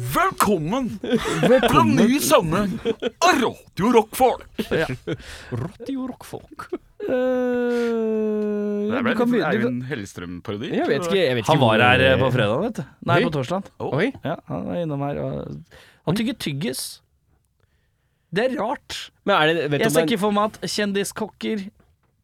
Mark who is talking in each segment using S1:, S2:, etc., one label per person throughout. S1: Velkommen! til en ny sending av Radio Rockfolk!
S2: Radio Rockfolk.
S1: Det
S3: Det
S1: ble litt sånn Eivind Hellstrøm-parodi.
S2: Jeg vet ikke, jeg vet ikke
S3: Han var
S2: hvor-
S3: her eh, på fredag, vet du. Nei, Oh.
S2: Oi.
S3: på torsdag.
S2: Oi.
S3: Ja, han var innom her. Og... Han tygger tyggis. Det er rart.
S2: Men er det, vet du
S3: Jeg
S2: om
S3: ser
S2: det er-
S3: ikke for meg at kjendiskokker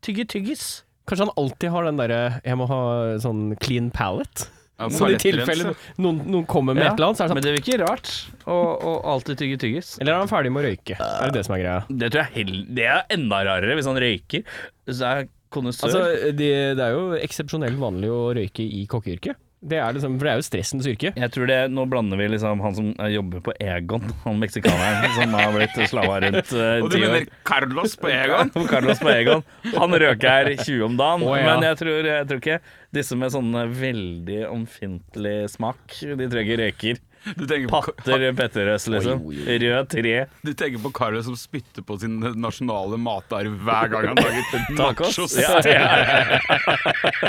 S3: tygger tyggis.
S2: Kanskje han alltid har den derre Jeg må ha sånn clean palate.
S1: Ja,
S2: Sånn i
S1: toalettrense.
S2: tilfelle noen, noen kommer med
S3: Ja,
S2: et eller annet, så er det
S3: Men
S2: sånn
S3: det er jo ikke rart å, å alltid tygge tyggis.
S2: Eller er han ferdig med å røyke? Er det det som er greia?
S3: Det tror jeg hell- Det er enda rarere hvis han røyker. Så er jeg kondisør.
S2: Altså, det, det er jo eksepsjonelt vanlig å røyke i kokkeyrket. Det er liksom, for det er jo stressens yrke.
S3: jeg tror det, Nå blander vi liksom han som jobber på Egon, han meksikaneren som har blitt slava rundt eh,
S1: Og du
S3: ti år.
S1: mener Carlos på en gang?
S3: Og Carlos på Egon. Han røker her 20 om dagen,
S2: Å, ja.
S3: men jeg tror, jeg tror ikke disse med sånn veldig omfintlig smak, de tror jeg ikke røyker.
S1: Du tenker på,
S3: Patter Petterøes, liksom. Rød tre.
S1: du tenker på Carlos som spytter på sin nasjonale matarv hver gang han lager
S3: Tacos.
S1: nachos.
S3: Ja, ja, ja.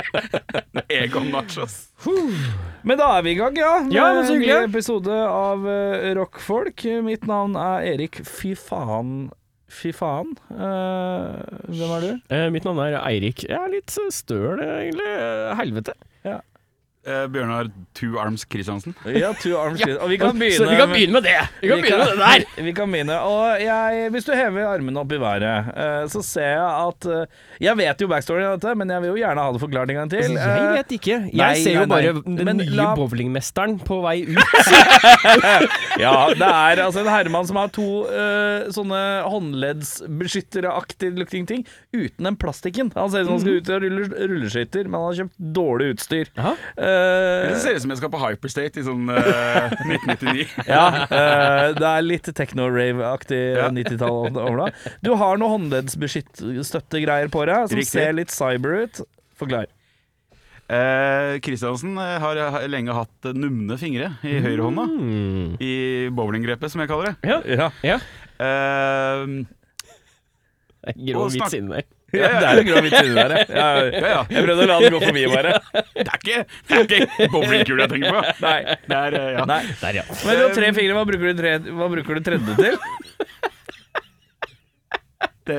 S1: Egon nachos.
S3: Men da er vi i gang, ja. Med
S2: Ja, men så hyggelig.
S3: En ny episode av eh, Rockfolk. Mitt navn er Erik Fy faen. Fy faen. Eh, hvem er du?
S2: Eh, mitt navn er Eirik. Jeg er litt eh, støl, eh, egentlig. Eh, Helvete.
S1: Eh, Bjørnar Two Arms Christiansen.
S3: Ja, Two Arms Og vi kan
S2: Så
S3: begynne,
S2: vi kan begynne med det! Vi kan begynne med det der!
S3: Vi kan begynne. Og jeg, hvis du hever armene opp i været, eh, så ser jeg at eh, Jeg vet jo backstoryen av dette, men jeg vil jo gjerne ha det forklart en gang til.
S2: Jeg
S3: Eh,
S2: vet ikke. Jeg
S3: Nei,
S2: ser jo
S3: nei, nei.
S2: bare den
S3: Men
S2: nye
S3: la-
S2: bowlingmesteren på vei ut.
S3: Ja, det er altså en herremann som har to eh, sånne håndleddsbeskytteraktig looking ting uten den plastikken. Han ser ut som han
S2: Mhm.
S3: skal ut og rulle rulleskøyter, men han har kjøpt dårlig utstyr.
S2: Aha.
S3: Eh,
S1: Det ser ut som jeg skal på Hyperstate i sånn eh, 1999.
S3: ja, eh, det er litt techno-rave-aktig 90-tall over det. Du har noe håndleddsbeskyttestøttegreier på deg som
S1: Riktig.
S3: ser litt cyber ut. Forklar.
S1: Eh, Kristiansen eh, har har lenge hatt eh, numne fingre i høyrehånda. I bowlinggrepet, som jeg kaller det.
S2: Ja.
S3: Ja.
S2: Mm. ja.
S1: Eh,
S2: Grå
S1: Og snakk-
S2: vits inni der.
S3: Ja, det er en grå vits inni der, ja. ja.
S1: ja, ja.
S3: Jeg prøvde å la den gå forbi, bare.
S1: Det er ikke, det er ikke bowlingkula jeg tenker på.
S3: Nei.
S1: Det er, eh, ja.
S3: Nei.
S2: Der, ja.
S3: Men du har tre fingre, hva bruker du, tre, hva bruker du tredje til?
S1: Det,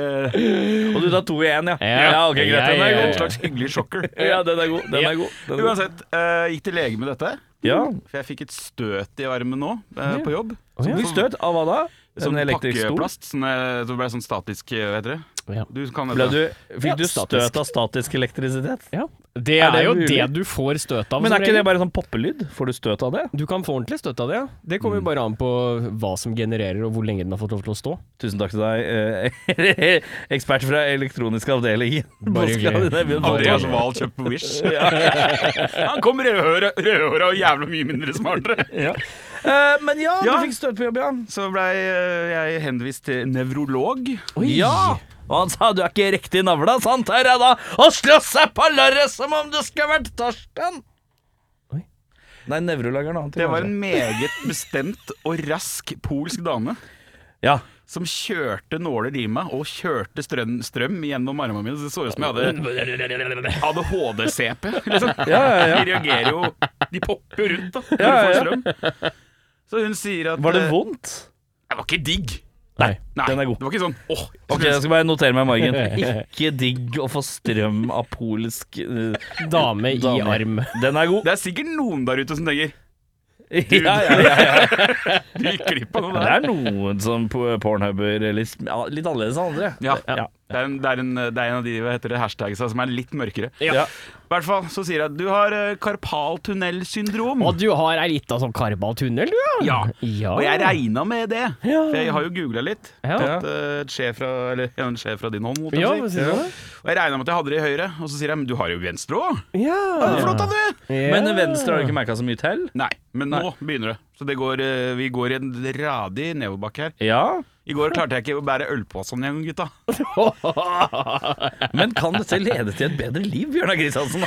S3: Og du tar to i én, ja.
S2: Ja.
S3: ja. Ok, greit. Den
S2: Ja,
S3: er
S2: ja,
S1: en
S3: god.
S1: slags hyggelig sjokker.
S3: Ja, den er god. Den er god. Den er god.
S1: Uansett, eh, gikk til lege med dette,
S3: Ja.
S1: for jeg fikk et støt i armen nå eh, på jobb.
S2: ja.
S3: Fikk støt av hva da?
S1: Sånn
S3: En elektrisk stol?
S1: pakkeplast. Sånn, eh, så ble det sånn statisk eh, Hva heter det?
S2: Ja.
S1: Du kan
S3: Ble du,
S1: dette.
S2: Ja,
S3: fikk du
S2: statisk.
S3: støt av statisk elektrisitet?
S2: Ja. Det
S3: Er
S2: er,
S3: det
S2: jo
S3: mulig?
S2: det du får støt av.
S3: Men
S2: som
S3: er ikke det
S2: regel.
S3: bare sånn poppelyd? Får du støt av det? Mm.
S2: Du kan få ordentlig støtt av det. ja. Det kommer jo bare an på hva som genererer, og hvor lenge den har fått lov til å stå.
S3: Tusen takk til deg, eh, ekspert fra elektronisk avdeling.
S2: Bare hyggelig.
S1: Andreas Wahl kjøpt på Wish. Han kom rødhåra rødhåra og jævla mye mindre smartere.
S3: Ja. Eh, men ja,
S1: Ja.
S3: du fikk støt på jobb, ja.
S1: Så blei eh, jeg henvist til nevrolog.
S3: Ja! Og han sa du er ikke riktig navla, sant her er da, og slå seg på låret som om det skulle vært Torsten.
S2: Oi.
S3: Nei, nevrolageren annet.
S1: Det var en meget bestemt og rask polsk dame.
S3: Ja.
S1: som kjørte nåler i meg og kjørte strøm, strøm gjennom armene mine. Så det så ut som jeg hadde ADHD-CP. Liksom.
S3: ja, ja.
S1: De reagerer jo De popper jo rundt da, når du
S3: Ja, ja, ja.
S1: får strøm. Så hun sier at
S3: Var det
S1: eh,
S3: vondt?
S1: Det var ikke digg.
S2: Nei.
S1: Nei,
S3: Den er god.
S1: Det var ikke sånn åh,
S3: Ok, jeg skal bare notere meg i margen. Ikke digg å få strøm av polsk eh,
S2: Dame i
S3: Dame.
S2: arm.
S3: Den er god.
S1: Det er sikkert noen der ute som tenker
S3: Ja, ja, ja, ja.
S1: Du gikk glipp av noe
S3: Det
S1: der.
S3: er noen som på pornhuber eller s- ja, litt annerledes enn andre.
S1: Ja.
S3: Ja.
S1: Det, er en, det, er en, det er en av de hva heter det, hashtagsa som er litt mørkere. I
S3: Ja.
S1: hvert fall så sier jeg at du har eh, karpal tunnelsyndrom.
S2: Og du har ei lita sånn karba tunnel, du,
S1: Ja.
S2: ja.
S1: Og jeg regna med det.
S2: Ja.
S1: For jeg har jo googla litt.
S2: Ja.
S1: Tatt eh, et skje fra, eller, ja, en skje fra din hånd. holdt jeg
S2: Ja,
S1: på å
S2: hva
S1: si.
S2: sier du?
S1: Og jeg regna med at jeg hadde det i høyre, og så sier jeg men du har jo venstre òg.
S2: Ja.
S1: Flott av det!
S3: Men eh, venstre har du ikke merka så mye til?
S1: Nei, men nå begynner det. Så det går, eh, vi går i en radig nedoverbakke her.
S3: Ja.
S1: I går klarte jeg ikke å bære ølposen engang, gutta.
S3: Men kan dette lede til et bedre liv, Bjørnar Kristiansen?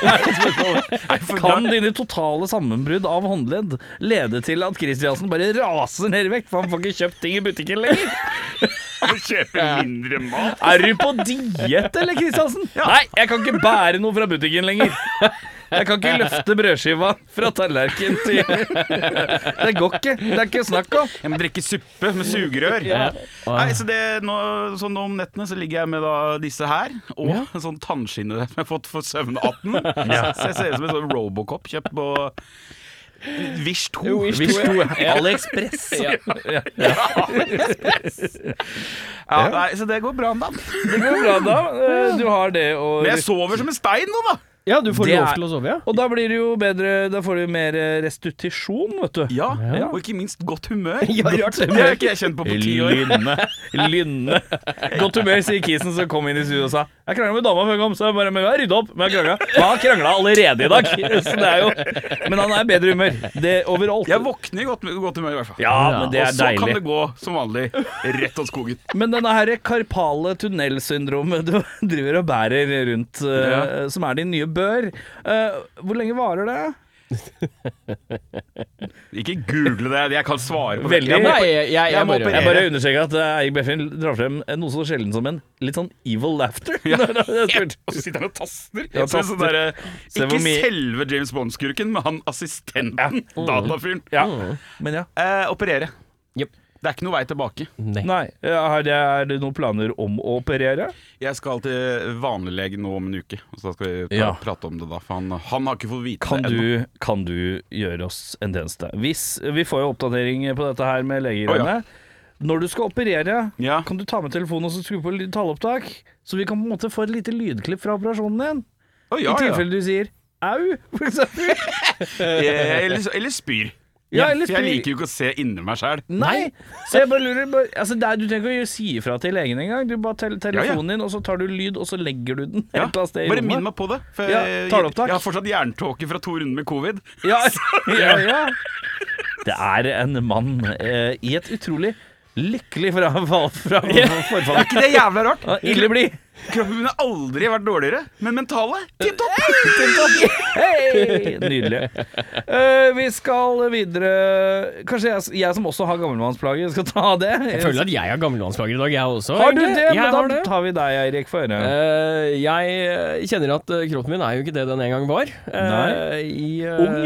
S3: Kan dine totale sammenbrudd av håndledd lede til at Kristiansen bare raser ned i vekt, for han får ikke kjøpt ting i butikken lenger?
S1: Å kjøpe mindre mat.
S3: Er du på diett, eller, Kristiansen? Nei, jeg kan ikke bære noe fra butikken lenger. Jeg kan ikke løfte brødskiva fra tallerken til Det går ikke. Det er ikke snakk om.
S1: Jeg må drikke suppe med sugerør. Nei, så det, nå, sånn om nettene så ligger jeg med da disse her, og en sånn tannskinne som jeg har fått for søvnatten. Så jeg ser ut som en sånn Robocop kjøpt på Wish 2.
S2: Wish
S3: Hvis
S2: to,
S3: to AliExpress
S2: Ja.
S1: Ja, nei, så det går bra om dagen.
S3: Det går bra da. Eh, Du har det og
S1: Men jeg sover som en stein nå, da.
S2: ja, du får
S3: Det
S2: lov
S3: er-
S2: til å sove, ja.
S3: Og da blir det jo bedre Da får du mer eh, restitusjon, vet du.
S1: Ja, Og ikke minst godt humør.
S2: Ja, rart.
S1: Det har ikke jeg kjent på på ti år.
S3: Lynne. Lynne. Godt humør, sier Kisen som kom inn i studio og sa Jeg krangla med dama før jeg kom, så jeg bare Men jeg rydda opp. Men jeg krangla. Men han krangla allerede i dag. Så det er jo Men han er i bedre humør. Det overalt.
S1: Jeg våkner i godt, godt humør, i hvert fall.
S3: Ja, men det
S1: og
S3: er
S1: så kan
S3: deilig.
S1: det gå som vanlig rett åt skogen.
S3: Men denne her karpale tunnelsyndromet du driver og bærer rundt, eh,
S1: Ja.
S3: som er din nye bør, eh, hvor lenge varer det?
S1: Ikke google det, jeg kan svare på
S3: Veldig.
S1: det. Jeg må-
S2: Nei, jeg, jeg, jeg,
S1: Jeg må
S2: bare-
S1: operere.
S3: Jeg bare understreker at eh, Eirik Befrin drar frem noe så sjelden som en litt sånn evil laughter. Når han er spurt.
S1: Og så sitter han og taster.
S3: Ja,
S1: Så
S3: taster.
S1: sånn derre-
S3: Se hvor
S1: ikke
S3: mye-
S1: selve James Bond-skurken, men han assistenten, datafyren.
S3: Ja. Men ja.
S1: Eh, operere.
S2: Jep.
S1: Det er ikke noe vei tilbake.
S2: Nei.
S3: Nei.
S1: eh,
S3: Er det, er det noen planer om å operere?
S1: Jeg skal til vanliglege nå om en uke, og så skal vi pra
S3: Ja.
S1: prate om det da. For han, han har ikke fått vite
S3: Kan
S1: det ennå.
S3: du, kan du gjøre oss en tjeneste? Hvis Vi får jo oppdatering på dette her med legegreiene. Når du skal operere,
S1: Ja.
S3: kan du ta med telefonen og så skru på lyd- taleopptak? Så vi kan på en måte få et lite lydklipp fra operasjonen din.
S1: Å, ja,
S3: I
S1: ja.
S3: tilfelle du sier au, for eksempel.
S1: Eh, eller, eller spyr.
S3: Ja, eller
S1: For jeg
S3: spyr.
S1: liker jo ikke å se inni meg sjæl.
S3: Nei! Så jeg bare lurer bare, altså det er, Du trenger ikke å si ifra til legen engang. Du bare tel telefonen
S1: Ja, ja.
S3: din, og så tar du lyd, og så legger du den
S1: Ja.
S3: et eller annet sted i
S1: Bare
S3: rommet.
S1: minn meg på det. For
S3: Ja,
S1: jeg,
S3: tar det opptak.
S1: jeg har fortsatt jerntåke fra to runder med covid.
S3: Ja, ja, ja. Det er en mann eh, i et utrolig lykkelig fra, fra, fra forfall.
S1: Ikke det er jævla rart?
S3: Ja, Ille bli.
S1: Kroppen min har aldri vært dårligere, men mentale tipp topp!
S3: Hei! Nydelig. Eh, vi skal videre Kanskje jeg, jeg som også har gammelmannsplager, skal ta det?
S2: Jeg føler at jeg har gammelmannsplager i dag, jeg også.
S3: har du
S2: egentlig.
S3: det?
S2: Jeg
S3: Men
S2: har
S3: da
S2: det.
S3: tar vi deg, Eirik, for øret.
S2: Eh, jeg eh, kjenner at eh, kroppen min er jo ikke det den en gang var. Eh,
S3: Nei.
S2: i, eh,
S3: Ung?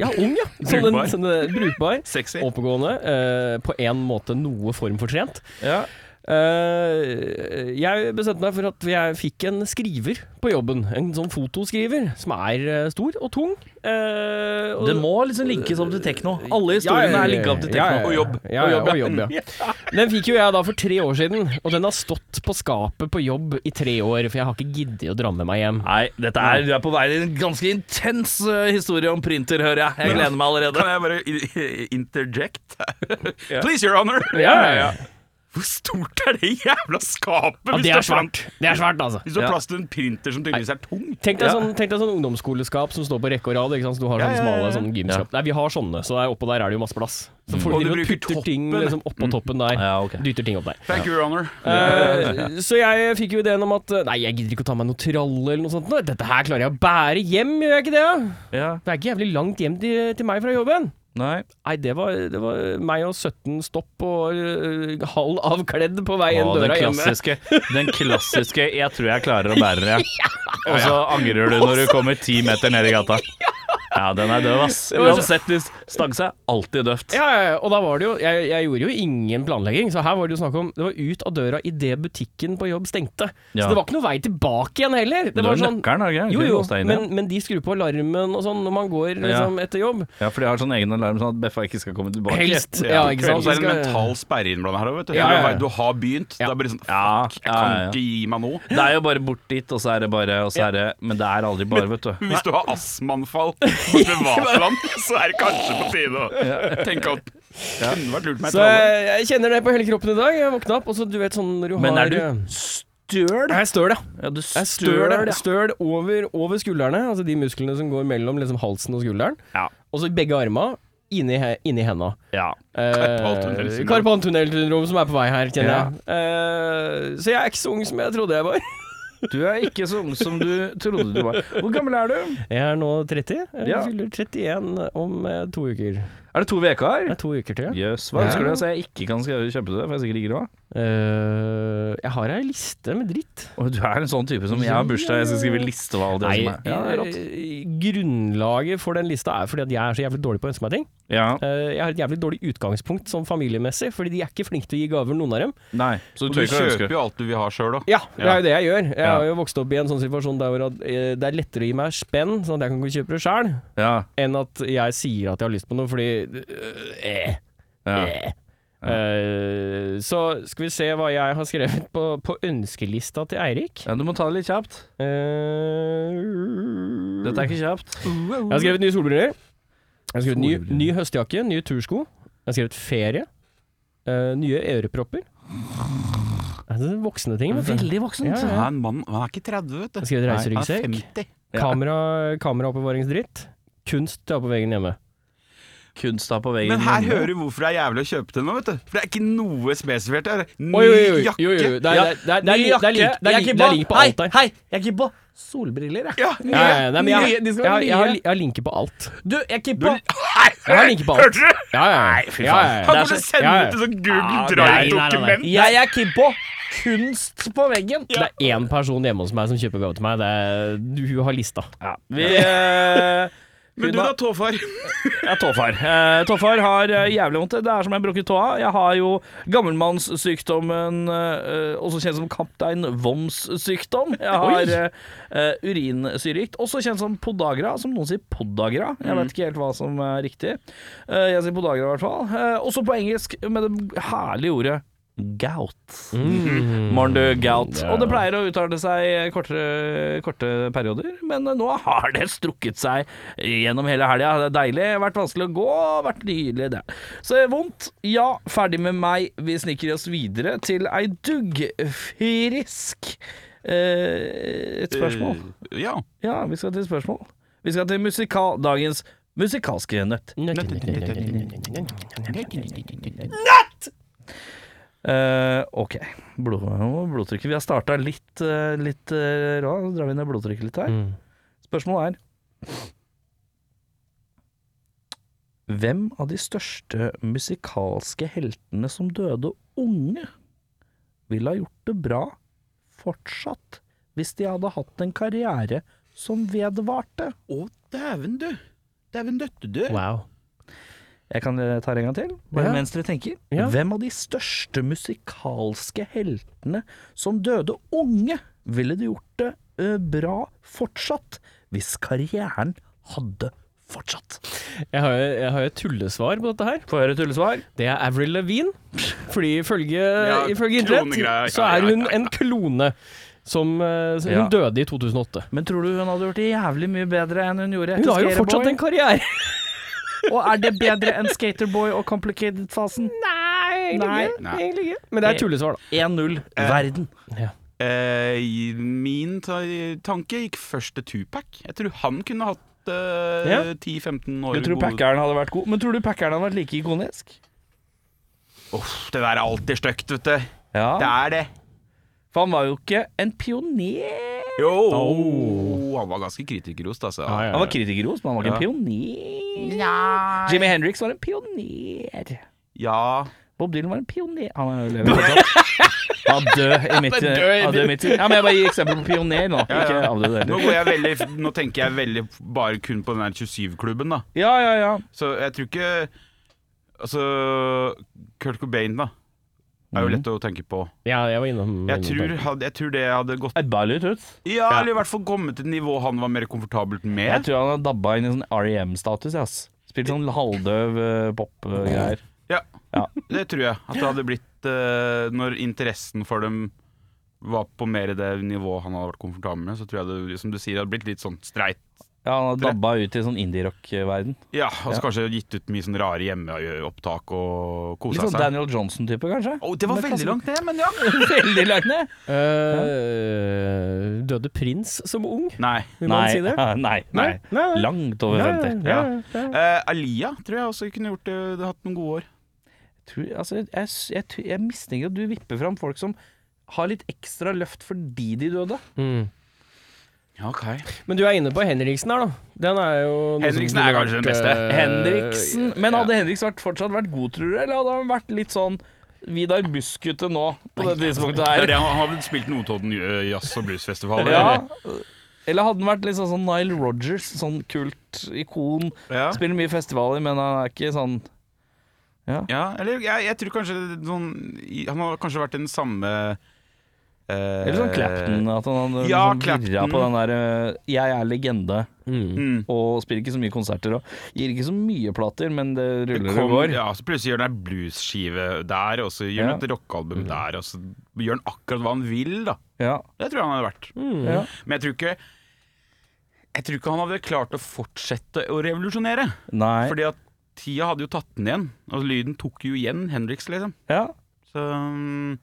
S2: Ja, ung, ja. Sånn den,
S1: Brukbar.
S2: sånn, eh, brukbar.
S1: Sexy.
S2: Oppegående. eh, på en måte noe form for trent.
S3: Ja.
S2: Eh, jeg bestemte meg for at jeg fikk en skriver på jobben. En sånn fotoskriver som er eh, stor og tung. Eh, og-
S3: Det må liksom linkes opp til tekno. Alle
S2: Ja, ja,
S3: historiene
S2: ja,
S3: er linka opp til
S2: ja, ja, ja.
S3: tekno. Og jobb.
S2: Ja, ja, og jobb, ja. Den fikk jo jeg da for tre år siden, og den har stått på skapet på jobb i tre år, for jeg har ikke giddet å dra med meg hjem.
S3: Nei, dette er, du er på vei til en ganske intens eh, historie om printer, hører jeg. Jeg gleder meg allerede.
S1: Kan jeg bare i- interject? Please, your honor!
S2: ja.
S1: Hvor stort er det jævla skapet?
S2: Ja,
S1: hvis
S2: det
S1: har
S2: er svært. Det er svært, altså.
S1: Hvis du har
S3: Ja.
S1: plass til en printer som tydeligvis er tung.
S2: Tenk deg, sånn, tenk deg sånn ungdomsskoleskap som står på rekke og rad. Ikke sant? Så du har
S1: Ja, ja,
S2: sånne
S1: ja,
S2: smale
S1: ja. Mm.
S2: sånn gymskap. Nei, vi har sånne, så der oppå der er det jo masse plass. Så folk
S1: Og du
S2: driver og
S1: bruker
S2: putter ting
S1: toppen. Mm.
S2: liksom, oppå toppen der.
S3: Ja, ok.
S2: Dytter ting opp der.
S1: Thank you, your honor.
S2: Eh, så jeg fikk jo ideen om at eh, Nei, jeg gidder ikke å ta meg noe tralle eller noe sånt. nå. Dette her klarer jeg å bære hjem, gjør jeg ikke det? da?
S3: Ja.
S2: Det er ikke jævlig langt hjem til, til meg fra jobben.
S3: Nei.
S2: Nei, det var, det var meg og 17 stopp og øh, halv avkledd på vei inn
S3: Å, den
S2: døra hjemme.
S3: klassiske, den klassiske 'jeg tror jeg klarer å bære det', og så angrer du når du kommer ti meter ned i gata. Ja, den er døv, ass.
S2: var så-
S3: Uansett, hvis stanse er alltid døvt.
S2: Ja, ja, ja, og da var det jo jeg, jeg gjorde jo ingen planlegging, så her var det jo snakk om Det var ut av døra idet butikken på jobb stengte. Så
S3: Ja.
S2: det var ikke noe vei tilbake igjen heller. Det
S3: Du har
S2: var
S3: jo
S2: sånn
S3: nøkkelen, har du ikke?
S2: Jo,
S3: Kunne
S2: jo,
S3: låst deg inn
S2: men,
S3: igjen.
S2: men de skrur på alarmen og sånn når man går
S3: Ja.
S2: liksom, etter jobb.
S3: Ja, for de har sånn egen alarm, sånn at Beffa ikke skal komme tilbake.
S2: Helst. Ja, ikke sant.
S1: Og så er det en
S2: Skal-
S1: mental sperre innblanda her òg, vet du.
S2: Ja, ja, ja.
S1: For Du vet, du har begynt.
S2: Ja.
S1: Da blir det sånn
S3: Ja,
S1: Fuck, jeg
S3: ja,
S1: kan
S3: ja.
S1: ikke gi meg nå.
S3: Det er jo bare bort dit, og så er det bare, og så er det Men det er aldri bare, vet du.
S1: Hvis du har astmaanfall på privatland, så er det kanskje på tide å tenke at det kunne vært lurt med
S2: Så eh,
S1: et eller annet.
S2: jeg, jeg kjenner det på hele kroppen i dag. Jeg våkna opp, og så du vet sånn når du
S3: Men
S2: har
S3: er du
S2: øh,
S3: støl?
S2: Jeg er støl, ja.
S3: Ja, du
S2: Jeg er støl,
S3: støl,
S2: ja. støl over, over skuldrene, altså de musklene som går mellom liksom, halsen og skulderen.
S3: Ja.
S2: Og så i begge armene, inni, he- inni henda.
S3: ja.
S1: Karpaltunnelsyndrom.
S2: Karpantunnelsyndrom som er på vei her, kjenner jeg. Eh, så jeg er ikke så ung som jeg trodde jeg var.
S3: Du er ikke så ung som du trodde du var. Hvor gammel er du?
S2: Jeg er nå 30. Jeg
S3: Ja.
S2: fyller 31 om eh, to uker.
S3: Er det to uker?
S2: Det er to uker til.
S3: Jøss, hva ønsker du deg så jeg ikke kan kjøpe det, for jeg sikkert ikke råd?
S2: Eh, Eh, jeg har ei liste med dritt.
S3: Og du er en sånn type som jeg har bursdag, jeg skal skrive liste hva det er som er. Ja, det er rått.
S2: eh, grunnlaget for den lista er fordi at jeg er så jævlig dårlig på å ønske meg ting.
S3: Ja,
S2: Eh, jeg har et jævlig dårlig utgangspunkt sånn familiemessig, fordi de er ikke flinke til å gi gaver, noen av dem.
S3: nei, så
S1: Og
S3: du
S1: du
S3: tør ikke å
S1: kjøper
S3: ønske.
S1: jo alt du vil ha sjøl òg.
S2: Ja, det er jo det jeg gjør. Jeg
S3: Ja.
S2: har jo vokst opp i en sånn situasjon der hvor at, eh, det er lettere å gi meg spenn, sånn at jeg kan kjøpe det sjøl,
S3: Ja,
S2: enn at jeg sier at jeg har lyst på noe, fordi øh, eh,
S3: ja.
S2: eh. Eh, Så skal vi se hva jeg har skrevet på, på ønskelista til Eirik.
S3: ja, du må ta det litt kjapt.
S2: Eh,
S3: Dette er ikke kjapt.
S2: Jeg har skrevet nye solbriller. Jeg har skrevet ny, ny høstjakke, nye tursko. Jeg har skrevet ferie. eh, nye ørepropper. Det er voksne ting, vet du.
S3: voksent.
S2: Ja, ja.
S1: Han, mann- han er ikke 30, vet
S2: Jeg
S1: du. Han
S2: har skrevet
S1: er
S2: reiseryggsekk.
S1: 50.
S3: Ja.
S2: Kamera, kameraoppbevaringsdritt. Kunst til å ha på veggen hjemme.
S3: Kunst da på veggen.
S1: Men her
S3: hjemme.
S1: hører du hvorfor det er jævlig å kjøpe til nå, vet du. For det er ikke noe spesifikt her. Ny jakke.
S2: Det er, det er, det er, det er,
S3: Ny jakke.
S2: lik- det er,
S3: Jeg er
S2: lik-
S3: ikke
S2: det
S3: på-
S2: er lik på alt her.
S3: Hei, hei, jeg er ikke på solbriller, jeg.
S1: Ja,
S2: Ja, ja, ja, nei, men
S3: Nye- de
S2: jeg, jeg,
S3: skal
S2: jeg,
S3: være
S2: har- jeg, har
S3: nye.
S2: li- jeg har linker på alt.
S3: Du, jeg er ikke
S1: Du-
S3: på
S1: Nei,
S2: Jeg har linker på alt.
S1: hørte du?
S2: Ja, ja, ja.
S3: fy
S2: Ja, ja,
S3: faen.
S2: ja.
S1: Han
S3: Det er
S1: burde
S3: så-
S1: sende
S2: ja, ja.
S1: ut et sånt Google
S3: Ja,
S1: Drive-dokument.
S3: Jeg er ikke på kunst på veggen.
S2: Det er én person hjemme hos meg som kjøper gave til meg. Det er, du har lista.
S3: Vi eh,
S1: Men du da, Tåfar.
S3: Ja, tåfar. Eh, tåfar har eh, jævlig vondt. Det er som jeg brukket tåa. Jeg har jo gammelmannssykdommen, eh, også kjent som kaptein Voms sykdom. Jeg har eh, eh, urinsyregikt, også kjent som podagra, som noen sier podagra. Jeg vet ikke helt hva som er riktig. Eh, jeg sier podagra i hvert fall. Eh, også på engelsk med det herlige ordet gout. Morn, du gout. Og det pleier å uttale seg kortere, korte perioder, men nå har det strukket seg gjennom hele helga. Det er deilig. Vært vanskelig å gå, vært nydelig, det. Så vondt. Ja, ferdig med meg. Vi sniker oss videre til ei duggfrisk eh, Et spørsmål.
S1: Eh, Ja.
S3: Ja, vi skal til spørsmål. Vi skal til musikal, dagens musikalske nøtt. Eh, ok, Blod, nå må blodtrykket. Vi har starta litt, uh, litt eh, rå, så drar vi ned blodtrykket litt her.
S2: Mm.
S3: Spørsmålet er Hvem av de største musikalske heltene som døde unge, ville ha gjort det bra fortsatt hvis de hadde hatt en karriere som vedvarte?
S1: Å, dæven, du. Dæven døtte, du.
S2: Wow.
S3: Jeg kan eh, ta det en gang til, bare
S2: Ja.
S3: mens dere tenker.
S2: Ja.
S3: Hvem av de største musikalske heltene som døde unge, ville det gjort det eh, bra fortsatt hvis karrieren hadde fortsatt?
S2: Jeg har, jeg har et tullesvar på dette her.
S3: Få høre tullesvar.
S2: Det er Avril Lavigne. Fordi ifølge,
S1: Ja,
S2: ifølge internett
S1: klonegreier.
S2: så
S1: Ja,
S2: er
S1: ja,
S2: hun
S1: ja,
S2: en klone. Som eh, Hun
S3: Ja.
S2: døde i 2008.
S3: Men tror du hun hadde gjort det jævlig mye bedre enn hun gjorde
S2: Hun
S3: etter
S2: har jo fortsatt
S3: Skaterboy?
S2: en karriere!
S3: Og er det bedre enn Skaterboy og Complicated-fasen?
S2: Nei,
S3: egentlig
S1: Nei.
S2: egentlig ikke. Men det er et tullesvar, da.
S3: 1-0 verden.
S1: Eh, i- min ta tanke gikk først til Tupac. Jeg tror han kunne hatt eh,
S3: Ja.
S1: 10-15
S3: Du
S1: år
S3: tror Packeren hadde vært god, men tror du Packeren hadde vært like ikonisk?
S1: Uff, det der er alltid stygt, vet du. Det
S3: Ja.
S1: er det.
S3: For han var jo ikke en pioner.
S1: Jo, han var ganske kritikerrost, altså.
S3: Han var kritikerros, men han var ikke en
S1: Ja.
S3: pioner. Jimmy Hendrix var en pioner.
S1: Ja.
S3: Bob Dylan var en pioner Han er jo lever fortsatt. Han er død i mitt,
S2: Han er død i
S3: han er død i mitt Ja, men jeg bare gir eksempel på pioner nå.
S1: ja.
S3: Ikke avdød
S1: Nå,
S3: heller.
S1: går jeg veldig, nå tenker jeg veldig bare kun på den der 27-klubben, da.
S3: Ja, ja, ja.
S1: Så jeg tror ikke Altså Kurt Cobain, da. Er
S3: Mhm.
S1: jo lett å tenke på.
S2: Ja, jeg var innom
S1: Jeg
S2: innom
S1: tror,
S2: det.
S1: had- jeg tror det hadde gått
S3: Et bare litt ut.
S1: Ja, eller i hvert fall kommet til et nivå han var mer komfortabelt
S3: Jeg
S1: med.
S3: tror han har dabba inn i sånn REM-status, jeg, ass. Spilt sånn halvdøv eh, pop-greier.
S1: Ja,
S3: Ja.
S1: Det tror jeg. At det hadde blitt eh, Når interessen for dem var på mer det nivået han hadde vært komfortabel med, så tror jeg det som du sier, hadde blitt litt sånn streit.
S3: Ja, han har dabba ut i sånn indie-rock-verden.
S1: Ja, og så kanskje gitt ut mye sånn rare hjemmeopptak og
S3: Litt
S1: kosa
S3: sånn
S1: seg.
S3: Daniel Johnson-type, kanskje.
S1: Å, det var
S3: Men kanskje-
S1: veldig langt ned, men ja.
S3: Veldig langt ned.
S2: Eh, Døde prins som ung?
S1: Nei.
S2: Vil man
S3: Nei,
S2: si det?
S3: nei, nei.
S2: Nei, nei.
S3: Langt over 50.
S2: Ja,
S1: Ja.
S2: ja, ja.
S1: Eh, Alia tror jeg også kunne gjort det, det hatt noen gode år.
S3: tror, altså, jeg, jeg, jeg, jeg mistenker at du vipper fram folk som har litt ekstra løft fordi de døde.
S2: Mm.
S1: Ok
S2: Men du er inne på Henriksen her, da. Den er jo noe som
S1: Henriksen er
S2: burde
S1: kanskje den
S2: vært,
S1: beste.
S2: eh,
S3: Henriksen. Men hadde Henriksen vært, fortsatt vært god, tror du? Eller hadde han vært litt sånn Vidar Buskete nå, på det tidspunktet
S1: Ja,
S3: her.
S1: det- Han har vel spilt en Notodden ø, jazz- og bluesfestival?
S3: Ja.
S1: eller?
S3: Eller hadde han vært litt sånn som Nile Rogers, sånn kult ikon.
S1: Ja.
S3: Spiller mye festivaler, men han er ikke sånn
S1: ja, eller jeg, jeg tror kanskje sånn i- Han har kanskje vært den samme eh,
S3: Eller sånn Clapton, at han hadde
S1: Ja, Mm.
S3: liksom virra
S1: Clapton.
S3: på den der eh, 'jeg er legende'
S1: Mm.
S3: og spiller ikke så mye konserter og gir ikke så mye plater, men det ruller
S1: Kom-
S3: og går.
S1: Ja, så plutselig gjør han ei bluesskive der, og så gjør han
S3: Ja. Mm.
S1: et rockealbum der, og så gjør han akkurat hva han vil, da.
S3: Ja.
S1: Det tror jeg han hadde vært.
S3: Ja.
S1: Men jeg tror ikke Jeg tror ikke han hadde klart å fortsette å revolusjonere.
S3: Nei.
S1: Fordi at tida hadde jo tatt den igjen. Og lyden tok jo igjen Hendrix, liksom.
S3: Ja.
S1: Så um,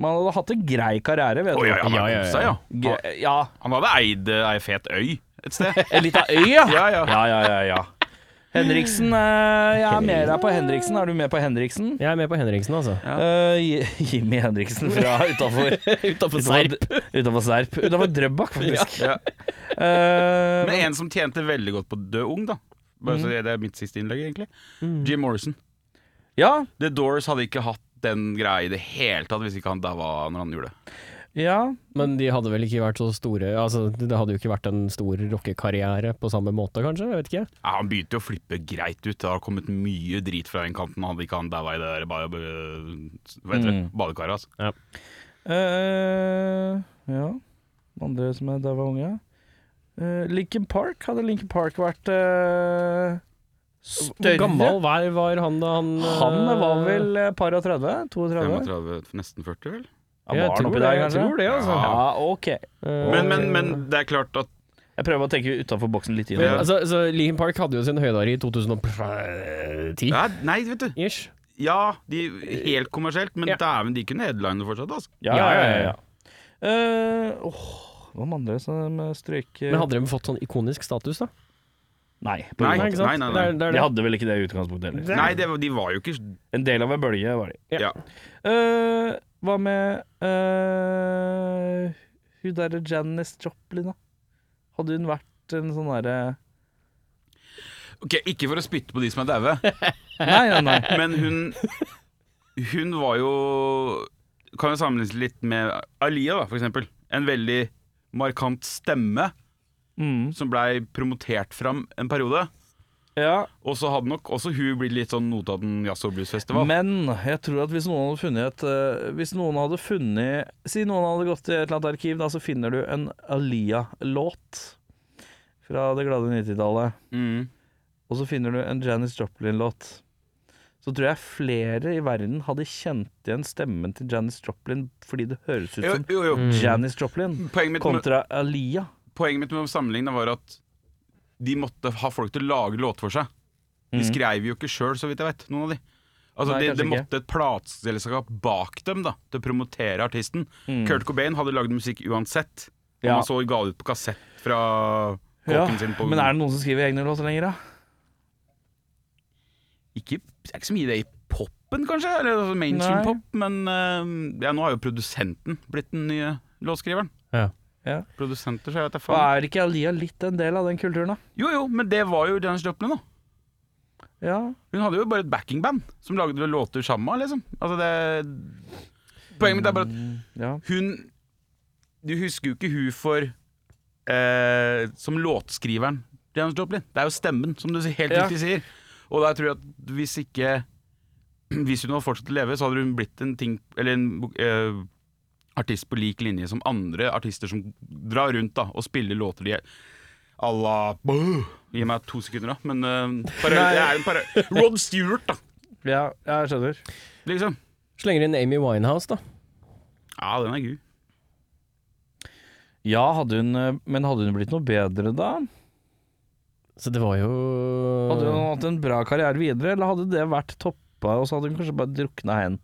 S3: Man hadde hatt en grei karriere, vet du.
S1: Å ja, ja, han
S2: Ja,
S1: hadde
S2: ja,
S1: kost
S2: ja.
S1: seg, ja. Han,
S3: Gre- ja.
S1: han hadde eid eh, ei fet øy et sted.
S3: En lita øy, ja.
S1: Ja, ja.
S3: Ja, ja, ja, ja. Henriksen, eh, jeg er med deg på Henriksen. Er du med på Henriksen?
S2: Jeg er med på Henriksen, altså.
S3: Eh, Ji- Jimmy Henriksen fra utafor
S2: Utafor
S3: Utafor Serp. Utafor Drøbak, faktisk.
S1: Ja.
S3: Eh,
S1: Men en som tjente veldig godt på Død ung, da. Bare så det det er mitt siste innlegg, egentlig. Jim Morrison.
S3: ja,
S1: The Doors hadde ikke hatt den greia i det hele tatt hvis ikke han daua når han gjorde det.
S3: ja.
S2: Men de hadde vel ikke vært så store Altså, det hadde jo ikke vært en stor rockekarriere på samme måte, kanskje? Jeg vet ikke.
S1: Ja, han begynte jo å flippe greit ut. Det har kommet mye drit fra den kanten. Hadde ikke han daua i det der ba- ba- hva heter det?
S3: Mm.
S1: badekaret, altså.
S3: Eh, ja. Andre som er der var unge. Uh, Lincoln Park. Hadde Lincoln Park vært eh, større?
S2: Hvor gammel var, var han da han
S3: Han
S2: eh,
S3: var vel eh, par og 30? 32?
S1: 35, nesten 40, vel?
S3: Ja,
S2: Jeg
S3: var han
S2: tror
S3: oppi
S2: det,
S3: der,
S2: jeg
S3: kanskje?
S2: tror det, altså.
S3: Ja, ok.
S2: Eh,
S1: Men, men, men det er klart at
S3: Jeg prøver å tenke utafor boksen litt.
S2: Men,
S1: Ja.
S3: Igjen.
S2: altså, altså, Linkin Park hadde jo sin høydare i 2010.
S1: ja, Nei, vet du.
S2: Ish.
S1: Ja, de, helt kommersielt, men
S2: Ja.
S1: dæven, de kunne headline fortsatt, altså.
S3: Ja, ja, ja. ja, Eh, åh, Hva med andre som eh, strøyk
S2: Men hadde de fått sånn ikonisk status, da?
S3: Nei. på
S1: Nei.
S3: grunn av-
S2: ikke sant?
S1: nei, nei.
S2: Det er- det er
S3: De
S2: det.
S3: hadde vel ikke det i utgangspunktet heller.
S1: Nei, det, de var jo ikke
S3: En del av en bølge var de.
S1: Ja.
S3: Eh, hva med eh, hun derre Janice Joplin, da? Hadde hun vært en sånn derre
S1: Ok, Ikke for å spytte på de som er daue,
S3: Nei, nei, nei.
S1: men hun Hun var jo Kan jo sammenlignes litt med Alia, da, for eksempel. En veldig markant stemme
S3: Mm.
S1: som blei promotert fram en periode.
S3: Ja,
S1: Og så hadde nok også hun blitt litt sånn Notodden jazz- og bluesfestival.
S3: Men jeg tror at hvis noen hadde funnet et eh, Hvis noen hadde funnet Si noen hadde gått til et eller annet arkiv, da, så finner du en Alia-låt fra det glade 90-tallet.
S1: Mm.
S3: Og så finner du en Janis Joplin-låt. Så tror jeg flere i verden hadde kjent igjen stemmen til Janis Joplin fordi det høres ut
S1: Jo,
S3: som
S1: jo, jo.
S3: Janis Joplin
S1: Poenget mitt med
S3: kontra Alia.
S1: poenget mitt med å sammenligne var at de måtte ha folk til å lage låter for seg. De skrev jo ikke sjøl, så vidt jeg vet, noen av de. Altså,
S3: Mhm. Nei,
S1: Det de
S3: kanskje ikke.
S1: måtte et plateselskap bak dem da, til å promotere artisten.
S3: Mm.
S1: Kurt Cobain hadde lagd musikk uansett. Om
S3: Mhm. Ja.
S1: han så ga det ut på kassett fra
S3: Ja,
S1: kåken sin på
S3: Men er det noen som skriver egne låter lenger, da?
S1: ikke, det er ikke så mye det i popen, kanskje? Eller altså, mainstream
S3: Nei.
S1: pop. Men eh, ja, nå har jo produsenten blitt den nye låtskriveren.
S3: Ja.
S1: Produsenter, så jeg vet da
S3: Og
S1: faen.
S3: er ikke Alia litt en del av den kulturen, da?
S1: Jo jo, men det var jo Janis Joplin, da.
S3: Ja.
S1: Hun hadde jo bare et backingband som lagde låter sammen, liksom. Altså det Poenget mitt er bare at
S3: ja.
S1: hun Du husker jo ikke hun for eh, Som låtskriveren Janis Joplin. Det er jo stemmen, som du helt
S3: Ja.
S1: riktig sier. Og der tror jeg at hvis ikke Hvis hun hadde fortsatt å leve, så hadde hun blitt en ting Eller en eh, artist på lik linje som andre artister som drar rundt da og spiller låter de à la Gi meg to sekunder, da. Men eh, para, det er en para, Rod Stewart, da.
S3: ja, jeg skjønner.
S1: Liksom.
S2: Slenger inn Amy Winehouse, da.
S1: Ja, den er gud.
S3: Ja, hadde hun, eh, men hadde hun blitt noe bedre da?
S2: Så det var jo
S3: Hadde hun hatt en bra karriere videre, eller hadde det vært toppa, og så hadde hun kanskje bare drukna hen?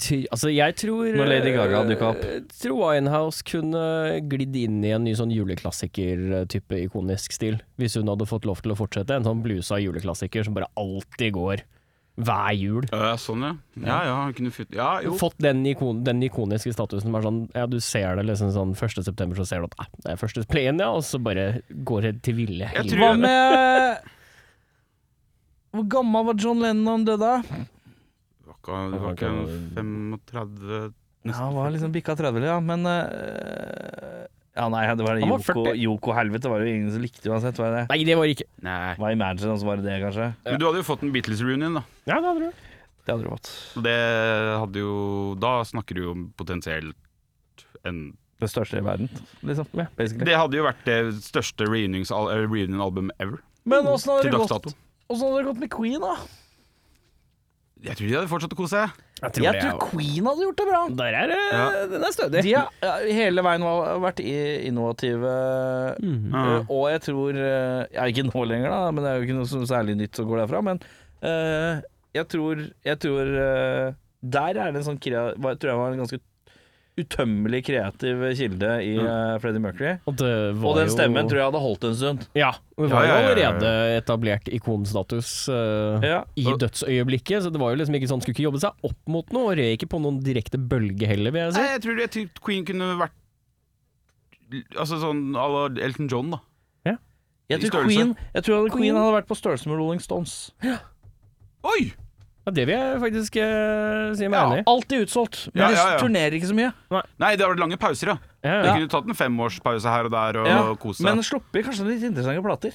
S2: Ty- Altså, jeg tror
S3: Når Lady Gaga
S2: eh,
S3: dukket opp.
S2: eh, Tror Winehouse kunne glidd inn i en ny sånn juleklassiker-type ikonisk stil. Hvis hun hadde fått lov til å fortsette. En sånn blusa juleklassiker som bare alltid går hver jul.
S1: Ja, sånn, ja. Ja, ja, han kunne fyrt Ja, jo.
S2: Fått den, ikon, den ikoniske statusen som er sånn Ja, du ser det liksom sånn 1. september, så ser du at eh, det er første playen, ja, og så bare går det til ville
S1: Jeg
S2: helvete.
S1: tror-
S3: Hva med Hvor gammel var John Lennon da han døde?
S1: Det var klokka Det var ikke en 35
S3: Ja, han var liksom bikka 30, ja. Men eh, Ja, nei, det var det
S2: Han var
S3: Yoko,
S2: 40.
S3: Yoko helvete var det jo ingen som likte uansett, var det det?
S2: Nei, det var ikke
S1: Nei.
S3: Var Imagine, og så var det det, kanskje?
S1: Men du hadde jo fått en Beatles-reunion, da.
S2: Ja, det hadde du.
S3: Det hadde du fått.
S1: Så det hadde jo Da snakker du jo om potensielt en
S3: Det største i verden, liksom.
S2: Ja.
S3: Basically.
S1: Det hadde jo vært det største reunions- al- eh, reunion-album ever.
S3: Men åssen hadde,
S1: Til
S3: det
S1: dags
S3: gått-
S1: dato.
S3: åssen hadde det gått med Queen, da?
S1: Jeg tror de hadde fortsatt å kose seg.
S2: Jeg
S3: Jeg tror Queen hadde gjort det bra.
S2: Der er det
S3: Eh,
S1: Ja.
S2: Den er stødig.
S3: De har ja, hele veien var- vært i- innovative.
S1: Ja.
S3: Eh, Og jeg tror eh, Ja, ikke nå lenger, da, men det er jo ikke noe som særlig nytt som går derfra. Men eh, jeg tror, jeg tror eh, Der er det en sånn krea, hva- tror jeg var en ganske utømmelig kreativ kilde i eh, Freddie Mercury.
S2: Og, det var
S3: Og den
S2: jo-
S3: stemmen tror jeg hadde holdt en stund.
S2: Ja.
S1: Ja,
S2: Det var jo
S1: ja, ja, ja, ja.
S2: allerede etablert ikonstatus eh,
S3: Ja.
S2: i dødsøyeblikket, så det var jo liksom ikke sånn Skulle ikke jobbe seg opp mot noe, og røy ikke på noen direkte bølge heller, vil jeg si.
S1: Nei, jeg tror, jeg tror Queen kunne vært Altså sånn à la Elton John, da.
S3: Jeg
S1: I
S3: tror,
S1: størrelse.
S3: Queen, jeg tror hadde
S2: Queen.
S3: Queen hadde vært på størrelse med Rolling Stones.
S1: Oi!
S2: Ja, det vil jeg faktisk eh, si meg
S1: Ja.
S2: enig i.
S3: Alltid utsolgt, men
S1: Ja, ja, ja.
S3: de turnerer ikke så mye.
S1: Nei, det har vært lange pauser, ja.
S2: Ja,
S1: De
S2: ja.
S1: kunne tatt en femårspause her og der og
S3: Ja,
S1: kose seg.
S3: Men slipper kanskje litt interessante plater.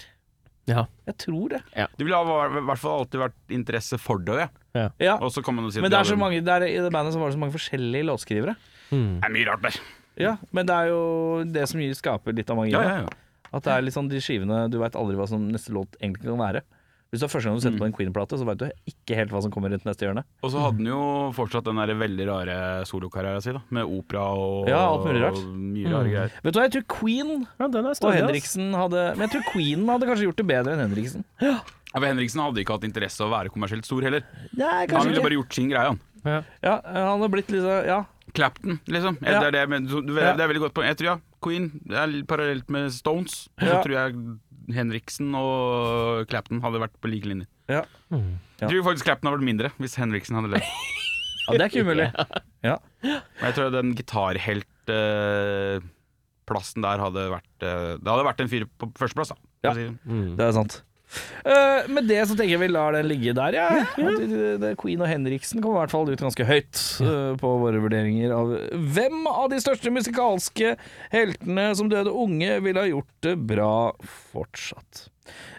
S2: Ja.
S3: Jeg tror det.
S1: Det ville ha i hvert fall alltid vært interesse for det. ja.
S3: Ja.
S1: Og så kan man jo si at
S3: Men det er så
S1: hadde-
S3: mange, der, i det bandet så var det så mange forskjellige låtskrivere.
S2: Mm.
S1: Det er mye rart der.
S3: Ja, Men det er jo det som gir- skaper litt av magien.
S1: Ja, ja, ja.
S3: At det er litt sånn de skivene Du veit aldri hva som neste låt egentlig kan være. Hvis det er første gang du setter på en Queen-plate, så veit du ikke helt hva som kommer rundt neste hjørne.
S1: Og så hadde han jo fortsatt den der veldig rare solokarrieren sin, da. Med opera og
S3: Ja, alt mulig rart. Mm.
S1: og Mye rare greier.
S3: Vet du hva, jeg tror Queen
S2: ja, den er
S3: og
S2: stødig. ass.
S3: Henriksen hadde Men jeg tror Queen hadde kanskje gjort det bedre enn Henriksen.
S1: Ja, for Henriksen hadde ikke hatt interesse av å være kommersielt stor heller. Han
S3: Nei, kanskje
S1: ville
S3: ikke.
S1: bare gjort sin greie, han.
S3: Ja, han hadde blitt litt sånn Ja.
S1: Clapton, liksom. Ja,
S3: Ja.
S1: Det, er det, men, så, du, det
S3: Ja.
S1: er veldig godt poeng. Jeg tror ja, Queen det er litt parallelt med Stones. Så
S3: Ja.
S1: tror jeg Henriksen og Clapton hadde vært på like linje.
S3: Ja, Ja.
S1: Jeg tror faktisk Clapton hadde vært mindre hvis Henriksen hadde levd.
S3: ja det er ikke umulig. Ja.
S1: Men jeg tror den gitarhelt eh, Plassen der hadde vært eh, Det hadde vært en fyr på førsteplass, da.
S3: Ja.
S1: for å si det.
S2: Mm.
S3: Det er sant. Mm. Eh, med det så tenker jeg vi lar den ligge der, ja. At det- det- Queen og Henriksen kommer i hvert fall ut ganske høyt eh, på våre vurderinger av hvem av de største musikalske heltene som døde unge ville ha gjort det bra fortsatt.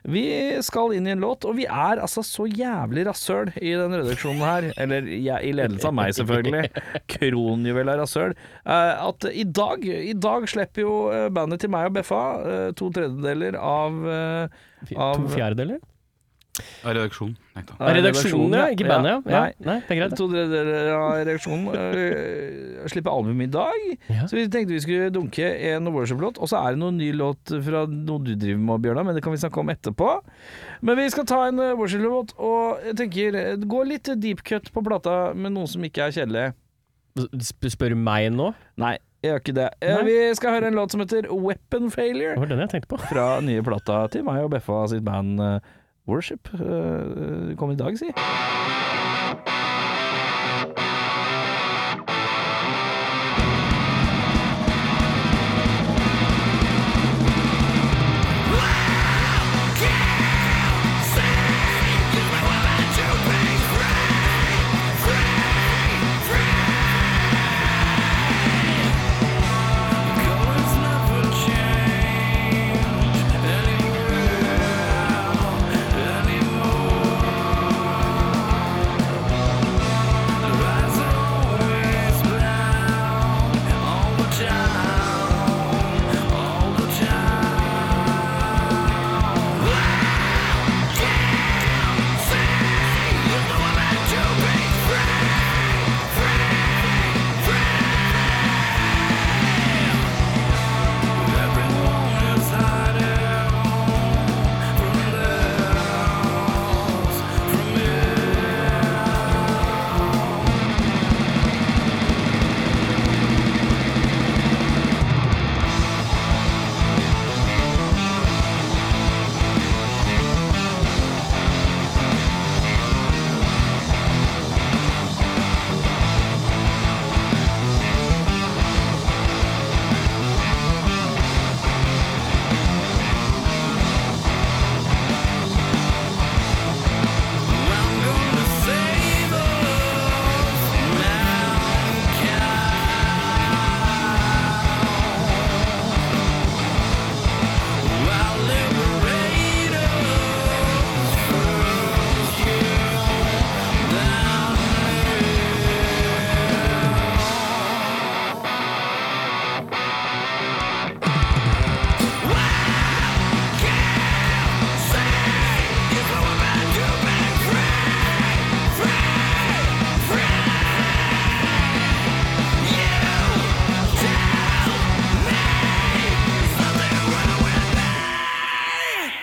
S3: Vi skal inn i en låt, og vi er altså så jævlig rasshøl i den redaksjonen her. Eller jeg, i ledelse av meg, selvfølgelig. Kronjuvel av rasshøl. Eh, at i dag I dag slipper jo eh, bandet til meg og Beffa eh, to tredjedeler av eh,
S2: Fy-
S3: Av-
S2: To fjerdedeler?
S1: Av redaksjonen. Nei, da.
S2: Av redaksjonen, ja. Ikke bandet, ja.
S3: Nei.
S2: ja. Nei, det er greit.
S3: To tredjedeler av redaksjonen øh, slipper album i dag.
S2: Ja.
S3: Så vi tenkte vi skulle dunke en worship-låt. Og så er det noen ny låt fra noe du driver med, Bjørnar, men det kan vi snakke om etterpå. Men vi skal ta en øh, worship-låt, og jeg tenker øh, gå litt deep cut på plata med noe som ikke er kjedelig.
S2: Sp- Spør du meg nå?
S3: Nei, jeg gjør ikke det. Eh,
S2: Nei.
S3: Vi skal høre en låt som heter Weapon Failure.
S2: Det var den jeg tenkte på.
S3: fra nye plata til meg og Beffa sitt band eh, Worship. eh, kom i dag, si.
S4: Anymore, anymore.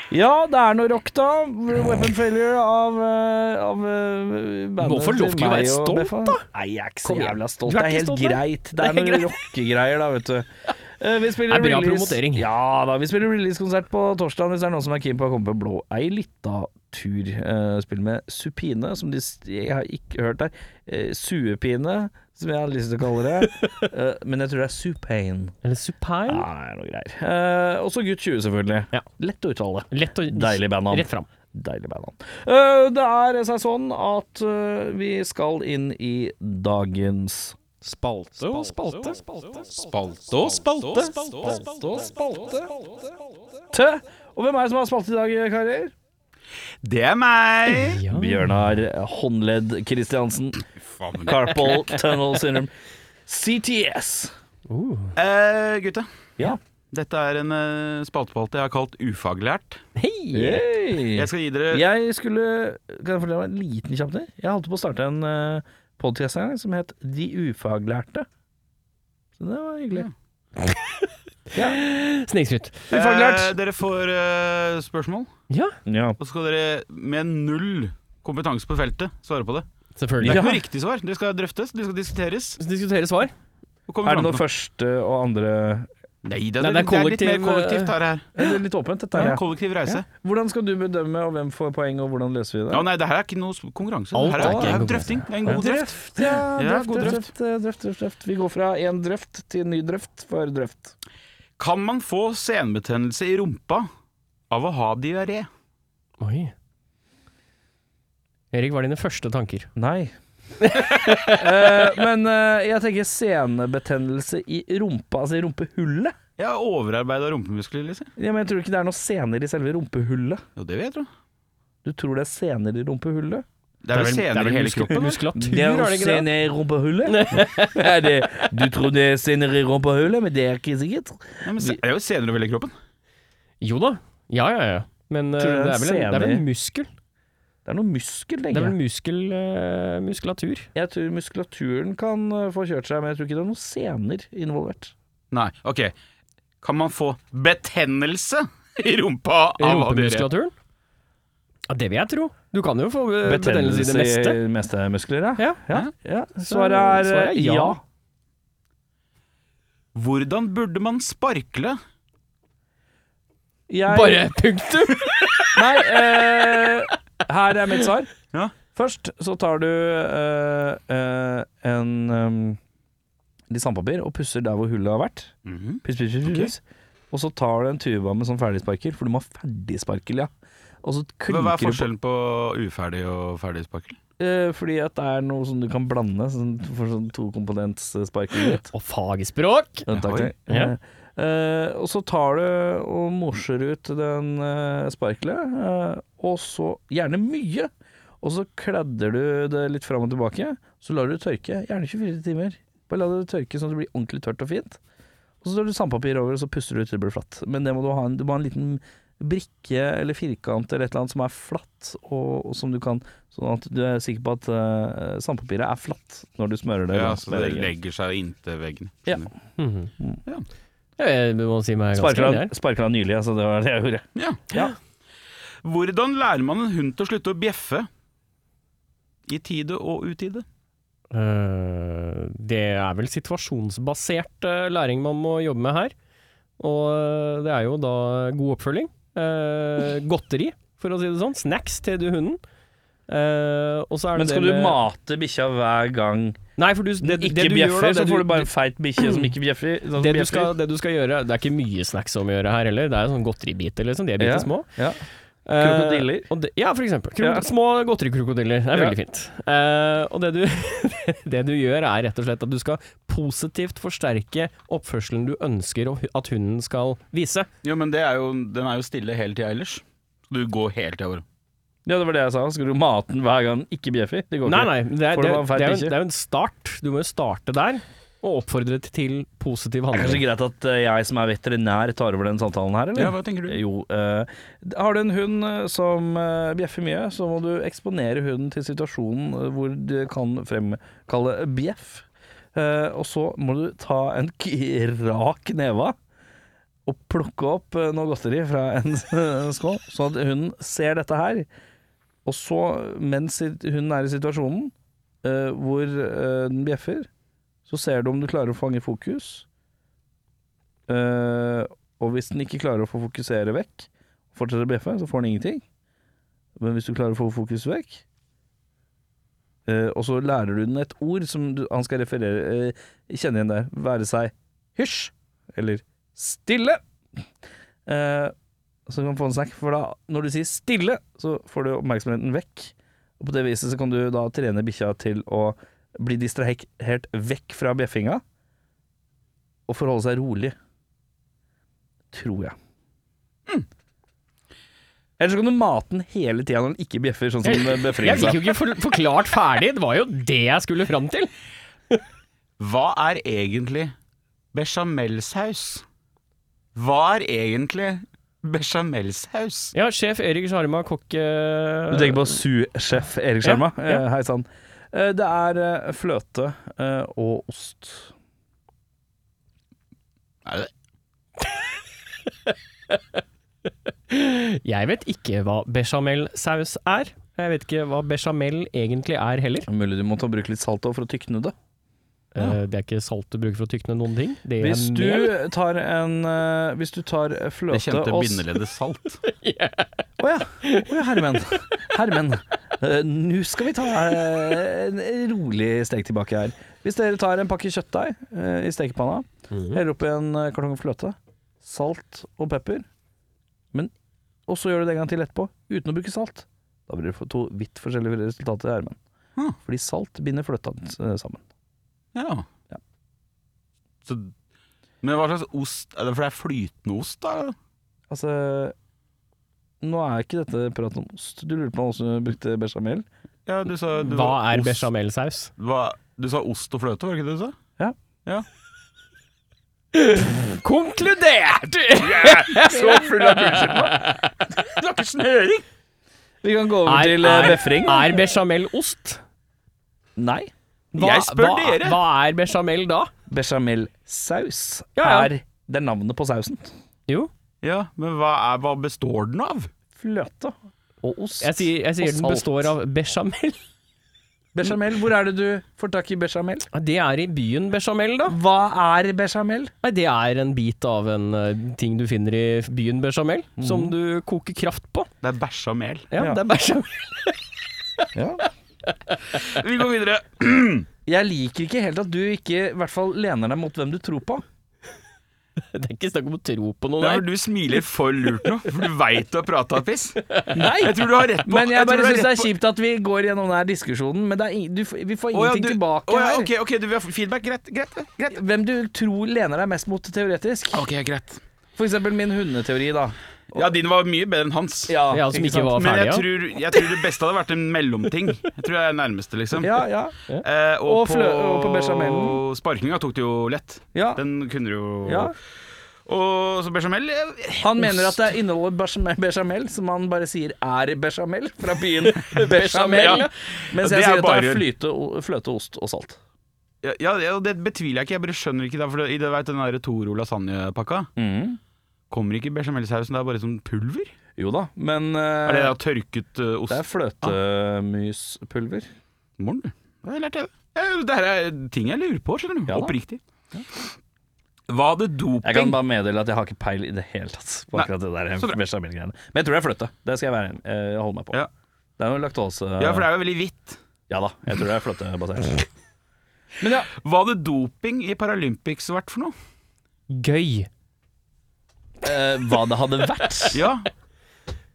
S3: Ja, det er noe rock, da. Weapon failure av, eh, av eh, bandet
S2: Må få lov til å
S3: meg
S2: være
S3: og
S2: stolt,
S3: Beffa.
S2: da.
S3: Nei, jeg er ikke så
S2: Kom igjen.
S3: jævla stolt.
S2: Du er
S3: Det er
S2: ikke
S3: helt
S2: stolt, da?
S3: greit. Det
S2: Det
S3: er
S2: er helt
S3: noen rockegreier, da, vet du. Eh, Vi spiller
S2: Det er bra
S3: release-
S2: promotering.
S3: Ja da. Vi spiller releasekonsert på torsdag hvis det er noen som er keen på å komme på blå ei lita tur. Eh, spiller med Supine, som de s- jeg har ikke hørt der. Eh, suepine, som jeg har lyst til å kalle det. Eh, men jeg tror det er supane.
S2: Eller supine.
S3: Ja, det er noe greier. Eh, også Gutt 20, selvfølgelig.
S2: Ja.
S3: Lett å uttale.
S2: Lett og
S3: Deilig bandnavn.
S2: Rett fram.
S3: Deilig bandnavn. Eh, det er seg sånn at eh, vi skal inn i dagens
S4: Spalte og spalte.
S1: Spalte og spalte.
S3: Tø. Og hvem er det som har spalt i dag, karer?
S1: Det er meg!
S2: Ja.
S3: Bjørnar Håndledd Kristiansen.
S1: Eh,
S3: Carpal Tunnel Syndrome. CTS.
S2: Uh.
S1: Eh, gutta,
S3: Ja.
S1: dette er en eh, spaltespalte jeg har kalt ufaglært.
S2: Hei!
S3: Yay.
S1: Jeg skal gi dere
S3: Jeg skulle Kan jeg fortelle meg en liten kjapp ting? Jeg holdt på å starte en uh, podkast en gang som het De ufaglærte. Så det var hyggelig.
S2: Snikskryt.
S1: Eh, dere får eh, spørsmål,
S2: Ja,
S3: Ja.
S1: og så skal dere med null kompetanse på feltet svare på det. Det
S2: selvfølgelig.
S1: er
S3: Ja.
S1: ikke noe riktig svar. Det skal drøftes, det skal diskuteres.
S2: Så diskutere svar.
S1: Og komme
S3: Er det
S1: fram
S3: noe
S1: til noe.
S3: første og andre Eh,
S1: Nei, det er,
S2: Nei,
S1: det er,
S2: det er
S1: litt mer
S2: kollektiv,
S1: kollektivt her. her.
S3: Det er litt åpent, dette
S1: Det er
S3: her.
S1: en
S3: Ja.
S1: kollektiv reise.
S3: Hvordan skal du bedømme, og hvem får poeng, og hvordan løser vi
S1: Ja,
S3: det?
S1: nei, det her er ikke noe s- konkurranse.
S2: Alt
S1: Det her
S2: er
S1: er,
S2: ikke
S1: det her
S2: en
S1: er drøfting. Det er en god drøft.
S3: Drøft, ja.
S1: Ja,
S3: Drøft,
S1: god
S3: drøft, drøft, drøft, drøft. Vi går fra én drøft til ny drøft for drøft.
S1: Kan man få senbetennelse i rumpa av å ha diaré?
S2: Oi. Erik, hva er dine første tanker?
S3: Nei. Eh, men eh, jeg tenker senebetennelse i rumpa, altså i rumpehullet.
S1: Jeg har overarbeida rumpemuskler, liksom.
S3: Ja, men jeg tror ikke det er noen sener i selve rumpehullet.
S1: Jo, det vil jeg tro.
S3: Du tror det er sener i rumpehullet?
S1: Det er vel senere i hele kroppen. da.
S2: Muskulatur, er det ikke det?
S3: i rumpehullet? Er det, du tror det er sener i rumpehullet, men det er ikke sikkert.
S1: Ja, men se- det er jo senere over hele kroppen.
S2: Jo da. Ja, ja, ja. Men eh,
S3: Tror du
S2: det
S3: det er en
S2: er vel en, det er vel en
S3: sene?
S2: muskel.
S3: Det er noe muskel,
S2: Det er
S3: tenker
S2: vel
S3: jeg.
S2: muskel, eh, muskulatur.
S3: Jeg tror muskulaturen kan eh, få kjørt seg, men jeg tror ikke det er noen sener involvert.
S1: Nei, ok. Kan man få betennelse i rumpa av å ha diaré?
S2: Rumpemuskulaturen. Ja, det vil jeg tro. Du kan jo få eh, betennelse i det meste.
S3: i meste muskler, ja.
S2: Ja. Mhm.
S3: ja. ja. Svaret er
S2: Svaret
S3: eh,
S2: er ja.
S3: ja.
S1: Hvordan burde man sparkle?
S3: Jeg-
S2: Bare punktum!
S3: Nei, eh, her er mitt svar.
S1: Ja.
S3: Først så tar du eh, eh, en um, litt sandpapir og pusser der hvor hullet har vært.
S1: Mhm.
S3: Puss, puss, puss, puss, puss. Og så tar du en tuba med sånn ferdigsparker, for du må ha ferdigsparkel, ja. Og så
S1: Hva
S3: klinker
S1: hva er
S3: du på
S1: forskjellen på uferdig og ferdig sparkel?
S3: eh, Fordi at det er noe som du kan blande, sånn, for sånn tokomponentsparking ditt.
S2: Og fagspråk!
S3: Ja, takk,
S1: Oi.
S3: takk. Eh, eh, og så tar du og morser ut den eh, sparkelet, eh, og så gjerne mye. Og så kladder du det litt fram og tilbake, så lar du det tørke, gjerne 24 timer. Bare la det tørke sånn at det blir ordentlig tørt og fint. Og så tar du sandpapir over, og så puster du ut til det blir flatt. Men det må du ha en, du må ha en liten brikke eller firkant eller et eller annet som er flatt, og, og som du kan Sånn at du er sikker på at eh, sandpapiret er flatt når du smører det.
S1: Ja,
S3: langs
S1: så
S3: med
S1: det
S3: veggen.
S1: legger seg inntil veggen.
S3: Ja.
S1: Skjønner.
S2: Mhm.
S1: Ja.
S2: Jeg må si meg ganske
S3: Sparkla,
S2: enig her.
S3: sparkla nylig, altså. Det var det jeg gjorde.
S1: Ja.
S3: Ja.
S1: Hvordan lærer man en hund til å slutte å bjeffe? I tide og utide.
S2: Eh, det er vel situasjonsbasert eh, læring man må jobbe med her. Og eh, det er jo da god oppfølging. Eh, godteri, for å si det sånn. Snacks til du hunden. Eh, og så er det
S3: Men skal
S2: det
S3: du
S2: med-
S3: mate bikkja hver gang
S2: Nei, for du, det,
S3: den
S2: det
S3: ikke
S2: du gjør, da,
S3: bjeffer,
S2: det
S3: så
S2: du-
S3: får du bare en feit bikkje som ikke bjeffer? Sånn som
S2: det du,
S3: bjeffer.
S2: skal, det du skal gjøre Det er ikke mye snacks om å gjøre her heller. Det er sånn godteribiter, liksom. De er bitte
S3: Ja,
S2: små.
S3: ja.
S2: Eh,
S3: Krokodiller?
S2: og det- ja, for eksempel. Krokod
S3: Ja.
S2: Små godterikrokodiller. Det er
S3: Ja.
S2: veldig fint. Eh, og det du, det du gjør, er rett og slett at du skal positivt forsterke oppførselen du ønsker å hu- at hunden skal vise.
S1: Jo, men det er jo, den er jo stille hele tida ellers. Så Du går hele tida over.
S3: Ja, det var det jeg sa. Skal du mate den hver gang den ikke bjeffer? Det går
S2: Nei,
S3: ikke.
S2: nei. Det er,
S3: Får
S2: det,
S3: du
S2: er,
S3: bare feil
S2: det, er jo,
S3: bikkje?
S2: det er jo en start. Du må jo starte der, og oppfordre til positiv
S3: Det er kanskje
S2: handling.
S3: greit at eh, jeg som er veterinær tar over den samtalen her, eller?
S1: Ja, hva tenker du?
S3: Jo. eh, har du en hund eh, som eh, bjeffer mye, så må du eksponere hunden til situasjonen eh, hvor du kan fremkalle bjeff. Eh, og så må du ta en k- rak neve av å plukke opp eh, noe godteri fra en skål, sånn at hun ser dette her. Og så, mens sit- hun er i situasjonen eh, hvor eh, den bjeffer, så ser du om du klarer å fange fokus. Eh, og hvis den ikke klarer å få fokusere vekk, fortsetter å bjeffe, så får den ingenting. Men hvis du klarer å få fokus vekk eh, Og så lærer du den et ord som du, han skal referere eh, Kjenne igjen der. Være seg hysj eller stille. Eh, så kan du få en snack, for da, når du sier stille, så får du oppmerksomheten vekk. Og på det viset så kan du da trene bikkja til å bli distrahert vekk fra bjeffinga, og forholde seg rolig. Tror jeg.
S2: Mm.
S3: Eller så kan du mate den hele tida når den ikke bjeffer, sånn som
S2: Jeg
S3: befrielsen.
S2: fikk jo ikke for forklart ferdig, det var jo det jeg skulle fram til.
S1: Hva er egentlig bechamelsaus? Hva er egentlig bechamelsaus?
S2: Ja, sjef Erik Sjarma, kokk eh,
S3: Du tenker på sous-sjef Erik
S2: Ja,
S3: Skjerma?
S2: ja.
S3: Hei sann. Eh, Det er eh, fløte eh, og ost.
S1: Er det
S2: Jeg vet ikke hva bechamelsaus er. Jeg vet ikke hva bechamel egentlig er heller.
S3: Det er Mulig du må ta og bruke litt salt også for å tykne det.
S2: Eh, Det er ikke salt du bruker for å tykne noen ting. Det er
S3: Hvis du
S2: mel.
S3: tar en eh, Hvis du tar eh,
S1: det
S3: fløte
S1: kjente
S3: og s-
S1: bindeleddet salt?
S3: Å ja. Å ja, hermen. Hermen. Eh, Nå skal vi ta eh, en rolig steg tilbake her. Hvis dere tar en pakke kjøttdeig eh, i stekepanna, heller oppi en eh, kartong fløte, salt og pepper, men og så gjør du det en gang til etterpå, uten å bruke salt. Da blir det for- to vidt forskjellige resultater i ermen.
S1: Hm.
S3: Fordi salt binder fløta eh, sammen.
S1: Ja.
S3: Ja.
S1: Så, men hva slags ost Er det for det er flytende ost, da?
S3: Altså Nå er ikke dette prat om ost. Du lurte på om hvordan du brukte bechamel.
S1: Ja, du sa, du
S2: Hva
S1: var
S2: er
S1: ost-
S2: bechamelsaus?
S1: hva- Du sa ost og fløte, var det ikke det du sa?
S2: Konkludert!
S3: Så full av bullshit nå!
S1: Du har ikke snøring!
S3: Vi kan gå over
S2: Er,
S3: til eh,
S2: er,
S3: befring.
S2: er bechamel ost?
S3: Nei.
S1: Jeg spør
S2: hva,
S1: dere.
S2: Hva er bechamel da?
S3: Bechamelsaus
S2: Ja, ja.
S3: er Det er navnet på sausen.
S2: Jo,
S1: Ja, men hva, er, hva består den av?
S3: Fløte og ost.
S2: jeg sier, jeg sier
S3: Og
S2: den
S3: salt.
S2: består av bechamel.
S3: Bechamel. Hvor er det du får tak i bechamel?
S2: Det er i byen bechamel, da.
S3: Hva er bechamel?
S2: Nei, det er en bit av en eh, ting du finner i byen bechamel, som du koker kraft på.
S1: Det er bæsja mel.
S2: Ja,
S3: Ja.
S2: det er bechamel.
S1: Vi går videre.
S3: Jeg liker ikke helt at du ikke i hvert fall lener deg mot hvem du tror på.
S2: Det er ikke snakk om å tro på
S1: Det
S2: noe
S1: er
S2: der.
S1: når du smiler for lurt nå, for du veit du har prata piss.
S3: Nei!
S1: Jeg tror du har rett på
S3: Men jeg,
S1: tror
S3: bare
S1: du har
S3: syns
S1: rett
S3: det er kjipt at vi går gjennom denne diskusjonen, men det er ing- du, f- vi
S1: Å
S3: får
S1: ja,
S3: ingenting
S1: du-
S3: tilbake
S1: Å ja,
S3: her.
S1: ok, ok, du vil ha feedback. Greit. greit, greit.
S3: Hvem du tror lener deg mest mot teoretisk.
S1: Ok, greit.
S3: For eksempel min hundeteori, da.
S1: Ja, din var mye bedre enn hans.
S2: Ja, som ikke var
S1: Men jeg
S2: ferdig, ja.
S1: tror, jeg tror det beste hadde vært en mellomting. Jeg tror jeg er nærmeste, liksom.
S3: Ja, ja.
S1: Eh,
S3: Og flø- og på bechamelen.
S1: Sparkinga tok det jo lett.
S3: ja.
S1: Den kunne du jo
S3: ja.
S1: Og så bechamel eh,
S3: Han mener at det inneholder bechamel, bechamel, som han bare sier er bechamel, fra byen bechamel.
S1: Ja.
S3: Mens
S1: Det
S3: jeg
S1: er
S3: sier at det
S1: bare-
S3: er flyte, o- fløte, ost og salt.
S1: Ja, ja, ja, det betviler jeg ikke. Jeg bare skjønner ikke det. For det, det vet, den der Toro lasagnepakka
S3: Mm.
S1: kommer ikke i bechamelsausen. Det er bare som pulver.
S3: Jo da, men eh,
S1: Er det da tørket eh,
S3: det
S1: ost?
S3: er fløtemyspulver.
S1: Morn, du. Det har jeg lært, jeg. Ja, Det her er ting jeg lurer på, skjønner du.
S3: Ja da.
S1: Oppriktig. Hva hadde
S3: Jeg kan
S1: doping
S3: bare meddele at jeg har ikke peil i det hele tatt på
S1: Nei,
S3: akkurat det der
S1: så bra.
S3: bechamelgreiene. Men jeg tror det er fløte. Det skal jeg være, eh, holde meg på.
S1: Ja.
S3: Det er noe laktose
S1: Ja, for det er jo veldig hvitt.
S3: Ja da, jeg tror det er fløtebasert. Men ja,
S1: Hva hadde doping i Paralympics vært for noe?
S2: Gøy.
S3: eh, hva det hadde vært
S1: Ja.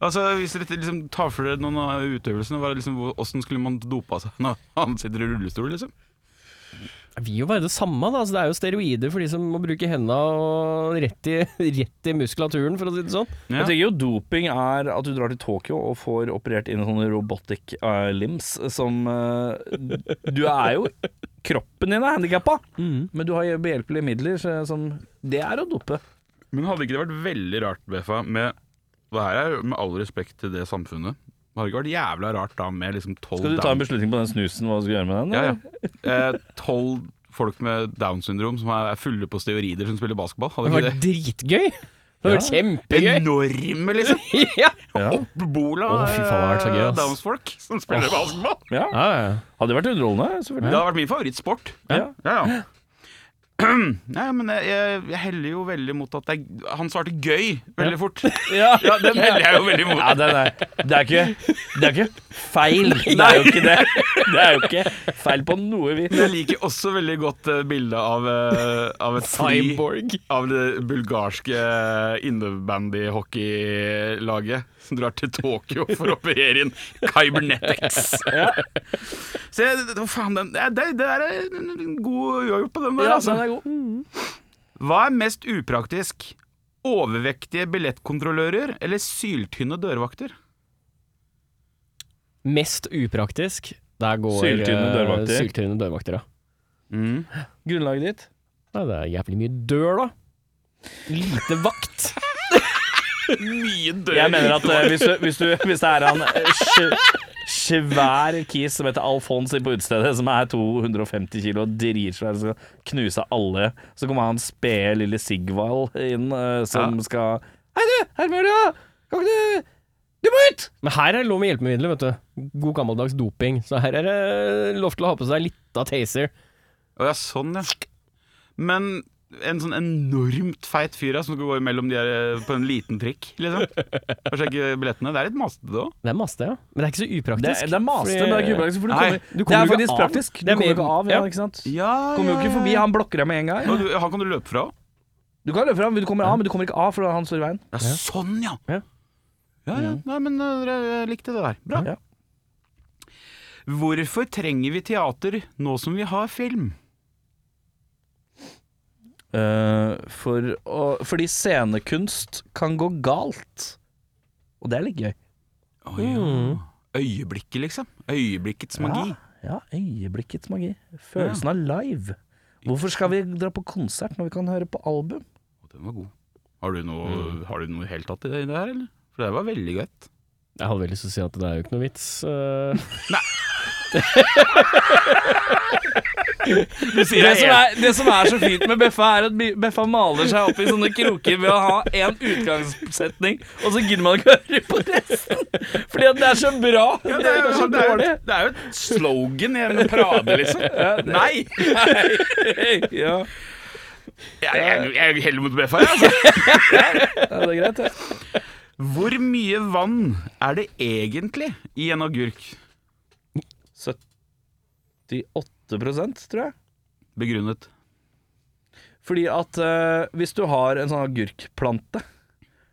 S1: Altså, Hvis dere liksom tar for dere noen av utøvelsene, var det liksom, hvor- hvordan skulle man dopa seg når han sitter i rullestol? liksom?
S2: Det vil jo være det samme, da. Altså, det er jo steroider for de som må bruke henda og rett i, rett i muskulaturen, for å si det sånn.
S1: Ja.
S3: Jeg tenker jo doping er at du drar til Tokyo og får operert inn sånne robotic eh, limbs som eh, Du er jo Kroppen din er handikappa,
S1: Mm.
S3: men du har behjelpelige midler så- som Det er å dope.
S1: Men hadde ikke det vært veldig rart, Beffa, med det her er jo med all respekt til det samfunnet Hadde ikke vært jævla rart da med liksom tolv
S3: Skal du ta en beslutning på den snusen, hva du skal gjøre med den?
S1: Ja,
S3: eller?
S1: ja. Eh, Tolv folk med Downs syndrom som er fulle på steorider som spiller basketball. Hadde
S2: Det
S1: ikke
S2: var
S1: det?
S2: dritgøy. Det var kjempegøy!
S1: Enorme, liksom.
S2: ja.
S1: Oppbola
S2: Å, fy faen, det hadde vært så gøy,
S1: eh,
S2: ass.
S1: damesfolk som spiller basketball.
S3: Ja.
S2: Ja, ja.
S3: Hadde vært underholdende,
S1: Det
S3: selvfølgelig.
S1: hadde vært min favorittsport.
S3: Ja.
S1: Ja, ja. Nei, men jeg, jeg, jeg heller jo veldig mot at det er Han svarte 'gøy' veldig fort.
S3: Ja.
S1: Ja, Den heller jeg jo veldig mot.
S3: Ja, det, er, det, er ikke, det er ikke feil. Det er jo ikke det. Det er jo ikke feil på noe vis.
S1: Men Jeg liker også veldig godt uh, bildet av, eh, av et fly
S2: Cyborg.
S1: av det bulgarske innebandy-hockeylaget som drar til Tokyo for å operere inn cybernetics. Så jeg, hva faen, den, det, det det er en en god uavgjort på den der,
S3: Ja,
S1: altså.
S3: den er god. Mm.
S1: Hva er mest upraktisk? Overvektige billettkontrollører eller syltynne dørvakter?
S2: Mest upraktisk. Der går
S3: Syltynne
S2: eh,
S3: dørvakter.
S2: Syltynne dørvakter, ja.
S1: Mm.
S3: Grunnlaget ditt?
S2: Nei, det er jævlig mye dør, da. Lite vakt.
S1: Mye dør
S3: Jeg mener at eh, hvis, du, hvis, du, hvis det er han eh, sj- svær kis som heter Alfons inne på utestedet, som er 250 kilo og dritsvær, som skal knuse alle, så kommer han spede lille Sigvald inn, eh, som skal Hei, du! Hermøla! Kan ikke du Du må ut!
S2: Men her er det lov med hjelpemidler, vet du. God gammeldags doping. Så her er det lov til å ha på seg litt av Taser.
S1: Å ja, sånn ja. Men en sånn enormt feit fyr ja, som skal gå imellom de her eh, på en liten trikk, liksom. Og sjekke billettene. Det er litt masete, det òg.
S2: Det er maste, ja. Men det er ikke så
S3: Det,
S2: upraktisk.
S3: det er maste,
S2: fordi-
S3: men det er ikke upraktisk, for du
S1: Nei,
S3: kommer,
S2: du
S3: Det
S2: kommer
S3: er
S2: jo ikke
S3: faktisk
S2: av.
S3: praktisk. Du
S2: Det er
S3: kommer jo
S2: mer-
S3: ikke av, ja,
S2: ja.
S3: ikke sant?
S1: Ja,
S3: Kommer jo ikke forbi, han blokker deg med en gang.
S1: Og du, han kan du løpe fra òg.
S3: Du kan løpe fra, men du kommer av, men du kommer ikke av, for han står i veien.
S1: Ja, sånn ja.
S2: Ja.
S1: Ja, ja. Nei, men eh, dere eh, likte det der. Bra.
S3: Ja.
S1: Hvorfor trenger vi teater nå som vi har film?
S3: Eh, for å, fordi scenekunst kan gå galt. Og det er litt gøy.
S1: Å ja. Øyeblikket, liksom. Øyeblikkets magi.
S3: Ja, øyeblikkets magi. Følelsen av live. Hvorfor skal vi dra på konsert når vi kan høre på album?
S1: Å, Den var god. Har du noe, har du noe helt tatt i det i det her, eller? For det var veldig godt.
S2: Jeg hadde vel lyst til å si at det er jo ikke noe vits. eh.
S3: Det som, er, det som er så fint med Beffa, er at Bi- Beffa maler seg opp i sånne kroker ved å ha én utgangssetning, og så gidder man ikke å høre på resten. Fordi at det er så bra.
S1: Ja, det, er jo,
S3: så
S1: det, er
S3: dårlig.
S1: jo, det er jo et slogan i en parade, liksom. Nei! Jeg,
S3: Ja,
S1: jeg, jeg heller mot BFA, jeg, altså.
S3: ja, det er greit, det.
S1: Hvor mye vann er det egentlig i en agurk?
S3: 78 tror jeg.
S1: Begrunnet.
S3: Fordi at eh, hvis du har en sånn agurkplante,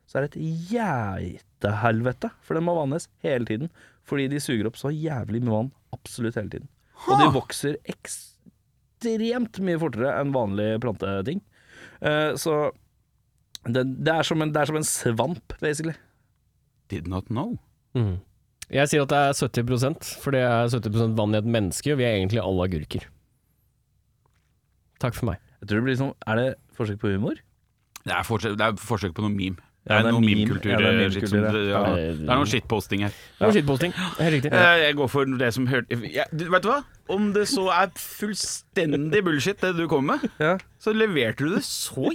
S3: så er det et geitehelvete. For den må vannes hele tiden. Fordi de suger opp så jævlig mye vann absolutt hele tiden. Og de vokser ekstremt mye fortere enn vanlige planteting. Eh, så det, det, er som en, det er som en svamp, basically.
S1: Did not know.
S2: Mm. Jeg sier at det er 70 for det er 70 vann i et menneske, og vi er egentlig alle agurker. Takk for meg.
S3: Jeg tror det blir sånn, Er det forsøk på humor?
S1: Det er forsøk, det er forsøk på noe meme. Det
S3: Ja,
S1: er,
S3: det er
S1: noe
S3: meme.
S1: meme-kultur.
S3: Ja, det
S1: eh,
S3: er meme-kultur,
S1: shit som-
S3: ja.
S1: ja. Det er noe shitposting her.
S2: Det var skittposting. Helt riktig.
S1: Eh, Jeg går for det som hørte jeg, du- Vet du hva? Om det så er fullstendig bullshit, det du kommer med,
S3: Ja.
S1: så leverte du det så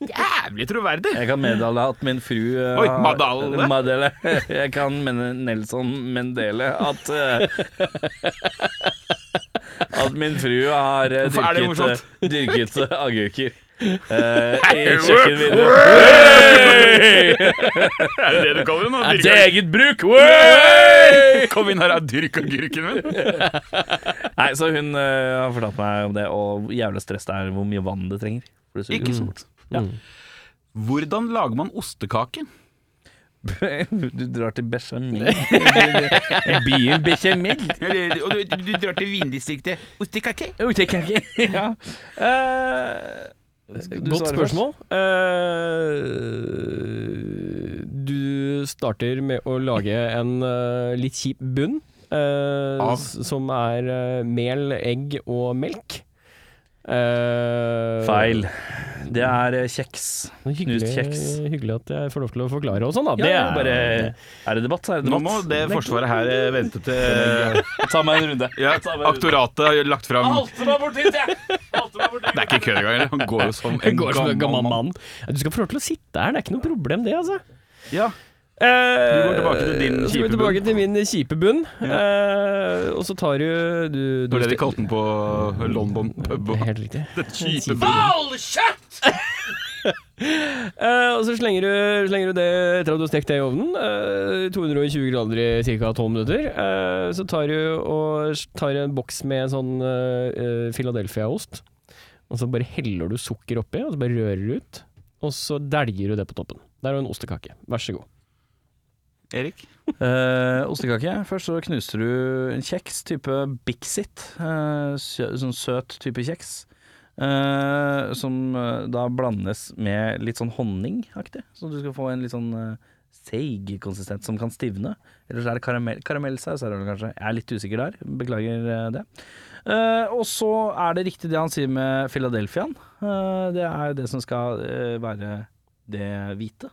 S1: jævlig troverdig.
S3: Jeg kan meddele at min fru eh,
S1: Oi,
S3: har-
S1: Madale.
S3: Madele. Jeg kan mene Nelson Mendele at eh, At min fru har eh,
S1: Hvorfor er det
S3: dyrket,
S1: morsomt?
S3: eh, dyrket eh, agurker. eh, I kjøkkenvinduet.
S1: Er det det du kaller det nå?
S3: Til eget bruk! Hey!
S1: Kom inn her og dyrk agurken min.
S3: Nei, så hun eh, har fortalt meg om det, og hvor jævla stress det er hvor mye vann det trenger. For det suger
S1: Ikke
S3: jo så
S1: sant.
S3: Mm.
S1: Hvordan lager man ostekake?
S3: fort. Du drar til Bechamel. Byen Bechamel.
S1: Eller- Og du, du drar til vindistriktet. Ostekake?
S3: Jo, Oh, det kan jeg ikke. ja. Eh, skal du
S2: Godt
S3: svare
S2: spørsmål. Eh, du starter med å lage en eh, litt kjip bunn, eh,
S1: Av?
S2: s- som er eh, mel, egg og melk. Eh,
S3: Feil. Det er eh, kjeks.
S2: Hyggelig,
S3: Knust kjeks.
S2: hyggelig at jeg får lov til å forklare og sånn, da.
S3: Ja, det
S2: det er
S3: er bare Er det debatt, så er det
S1: Nå må
S3: debatt.
S1: det forsvaret her eh, vente til
S3: Ta meg en runde.
S1: ja, aktoratet har lagt fram
S3: meg bort hit, jeg! Halte meg bort
S1: Det er ikke kødd engang. eller? Han går jo som
S2: Jeg
S1: en
S2: går som en gammel
S1: mann.
S2: mann. Du skal få lov til å sitte her, det er ikke noe problem det, altså.
S1: Ja.
S2: Du går
S1: går tilbake til din
S2: Eh, Så går
S1: kjipe
S2: vi tilbake
S1: bunn.
S2: til min kjipe bunn. Eh, og så tar du, du,
S1: Det
S2: du
S1: var det de kalte den på London pub.
S2: Det er Helt riktig.
S1: Det kjipe
S2: Eh, og så slenger du, slenger du det etter at du har stekt det i ovnen. eh, 220 grader i ca. 12 minutter. Eh, så tar du og s- tar en boks med sånn eh, eh, Philadelphia-ost. Og så bare heller du sukker oppi, og så bare rører du ut. Og så dæljer du det på toppen. Der har du en ostekake. Vær så god.
S1: Erik?
S3: Eh, ostekake. Først så knuser du en kjeks, type Bixit. eh, sø, sånn søt type kjeks. eh, som eh, da blandes med litt sånn honningaktig, så du skal få en litt sånn eh, seig konsistens som kan stivne. Eller så er det karamell, karamellsaus, er det vel kanskje. Jeg er litt usikker der, beklager eh, det. Eh, og så er det riktig det han sier med Philadelphiaen. Eh, det er det som skal eh, være det hvite.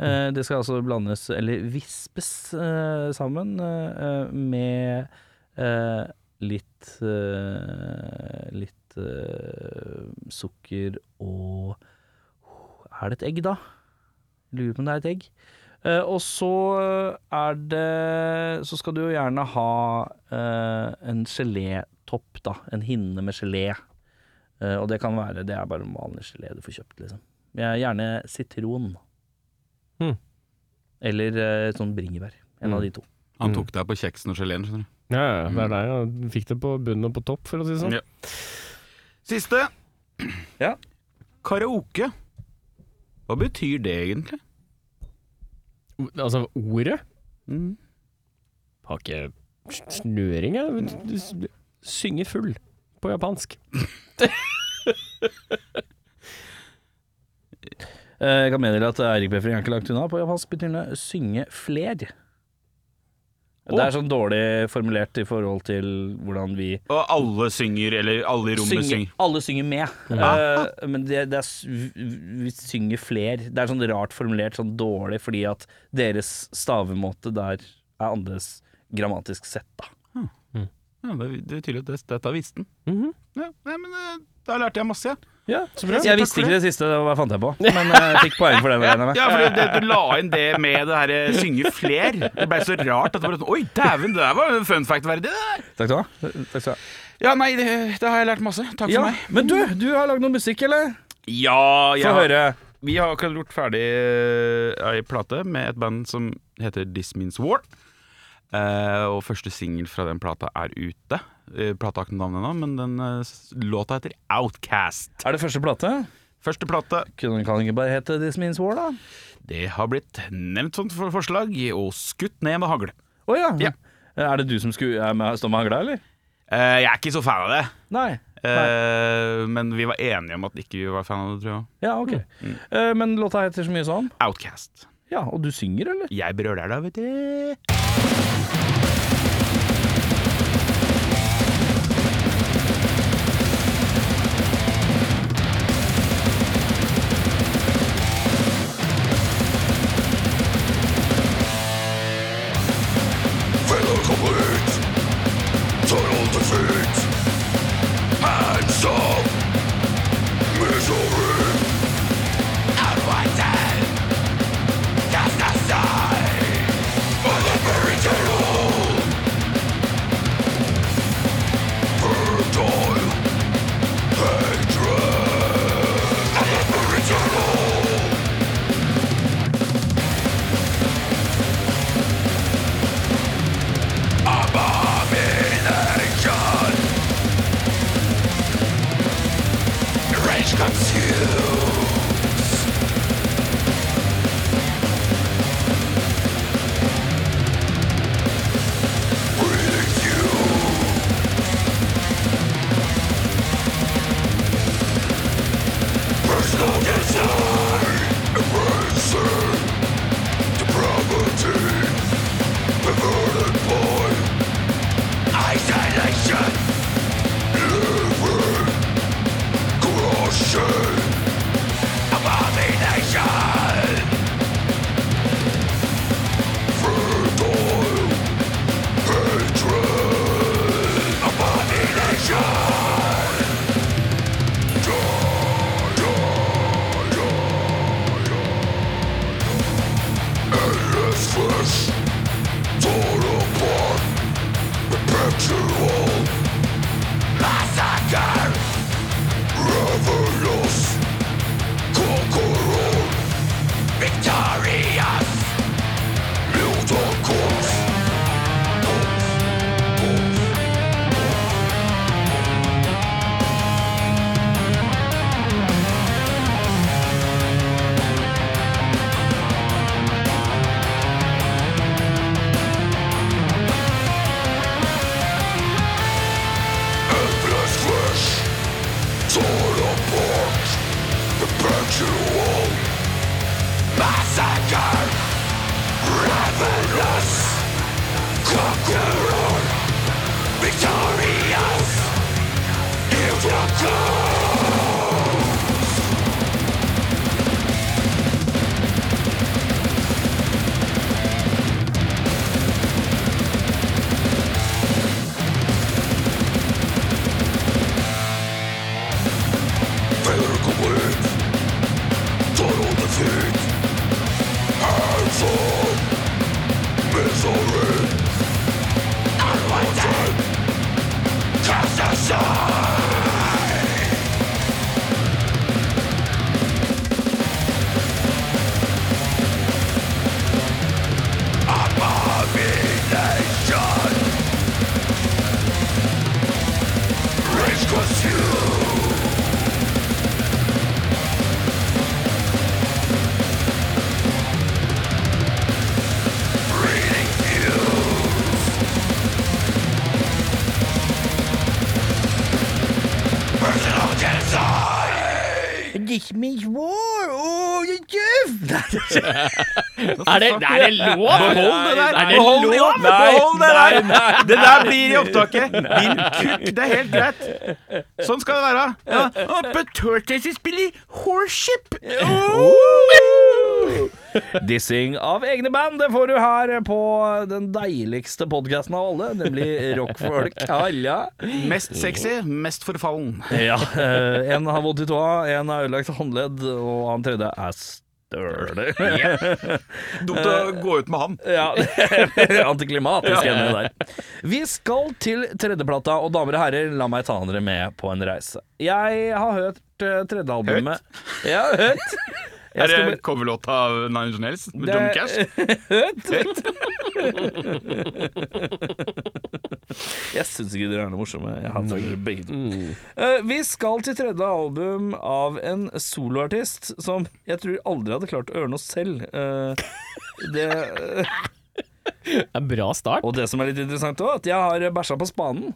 S3: Eh, det skal altså blandes, eller vispes, eh, sammen eh, eh, med eh, litt eh, Litt eh, sukker og Er det et egg, da? Lurer på om det er et egg. Eh, og så er det Så skal du jo gjerne ha eh, en gelétopp, da. En hinne med gelé. Eh, og det kan være Det er bare en vanlig gelé du får kjøpt, liksom. Ja, gjerne sitron.
S2: Hmm.
S3: Eller eh, sånn bringebær. En av de to.
S1: Han tok deg på kjeksen og geleen, skjønner du.
S2: Ja, det
S1: Mm.
S2: er der jeg fikk det på bunnen og på topp, for å si det sånn.
S1: Ja. Siste.
S3: Ja.
S1: Karaoke. Hva betyr det egentlig?
S2: Altså, ordet
S1: Mm.
S2: har ikke snøring, jeg. Du s- Synger full på japansk.
S3: Eh, jeg kan meddele at Eirik Befring er ikke langt unna. På japansk betyr det 'synge fler'. Det er sånn dårlig formulert i forhold til hvordan vi
S1: Og alle synger, eller alle i rommet synger. Ah.
S3: synger. Alle synger med.
S1: Ja.
S3: Eh, men det, det er, s- vi vi synger fler. Det er sånn rart formulert, sånn dårlig, fordi at deres stavemåte der er annerledes grammatisk sett, da.
S1: Ja, det, det er tydelig at det- dette visste han.
S2: Mhm.
S1: Ja, nei, men eh, da lærte jeg masse, jeg.
S2: Ja, så bra.
S3: Jeg visste ikke det siste, det var- fant jeg på. Men eh, jeg fikk poeng for det. regner jeg med.
S1: Ja, fordi det, du la inn det med det her eh, synge fler. Det ble så rart at det ble sånn Oi, dæven, det der var en fun fact-verdig, det der.
S3: Takk skal du ha. Takk skal du ha.
S1: Ja, nei, det, det har jeg lært masse. Takk
S3: Ja,
S1: for meg.
S3: men du, du har lagd noe musikk, eller?
S1: Ja,
S3: Få høre.
S1: Vi har akkurat gjort ferdig eh, ei plate med et band som heter This Means War. Eh, og første singel fra den plata er ute. Eh, plata har ikke noe navn ennå, men den eh, s- låta heter Outcast.
S3: Er det første plate?
S1: Første plate.
S3: Kunne den ikke bare hete This Means War, da?
S1: Det har blitt nevnt som for forslag, og skutt ned med hagle.
S3: Å ja.
S1: Ja.
S3: Er det du som skulle er med, stå med hagla, eller?
S1: Eh, jeg er ikke så fan av det,
S3: Nei.
S1: Eh, men vi var enige om at ikke vi var fan av det, tror jeg.
S3: Ja, ok. Eh, men låta heter så mye sånn.
S1: Outcast.
S3: Ja, og du synger, eller?
S1: Jeg brøler da, vet du.
S5: Failure complete. Total defeat. Hands up. Misery. Unwanted. Cast aside. By the very tale. Burned on. Hatred. By the very tale. Abomination. Rage consumes. Breathing you. Personal desire. Embracing. Depravity. Perverted boy. Isolation. Liver.
S3: This means war! Oh, you give!
S2: Er det, er det lov?
S1: Behold det der!
S2: Er det
S1: Behold,
S2: lov?
S1: ja, behold det der! Det der blir i opptaket. Din kukk, det er helt greit. Sånn skal det være. Ja. Oh, but turtles is Billy Horship.
S3: Oh! Dissing av egne band, det får du her på den deiligste podkasten av alle, nemlig Rockfolk Halla.
S1: Mest sexy, mest forfallen.
S3: Ja, eh, en har vondt i tåa, en har ødelagt håndledd, og han tredje er støler.
S1: Dumt å gå ut med han.
S3: Ja, antiklimatisk enig der. Vi skal til tredjeplata, og damer og herrer, la meg ta dere med på en reise. Jeg har hørt eh, tredje albumet Ja, hørt. Jeg
S1: Er det
S3: skal be-
S1: coverlåta av Nine Inch Nails med
S3: Det-
S1: John Cash?
S3: Jeg syns ikke dere er noe morsomme. Jeg hater dere begge to.
S1: Mm.
S3: Eh, vi skal til tredje album av en soloartist som jeg tror aldri hadde klart å gjøre noe selv. Eh, det,
S2: Det er en bra start.
S3: og det som er litt interessant òg, at jeg har bæsja på spanen.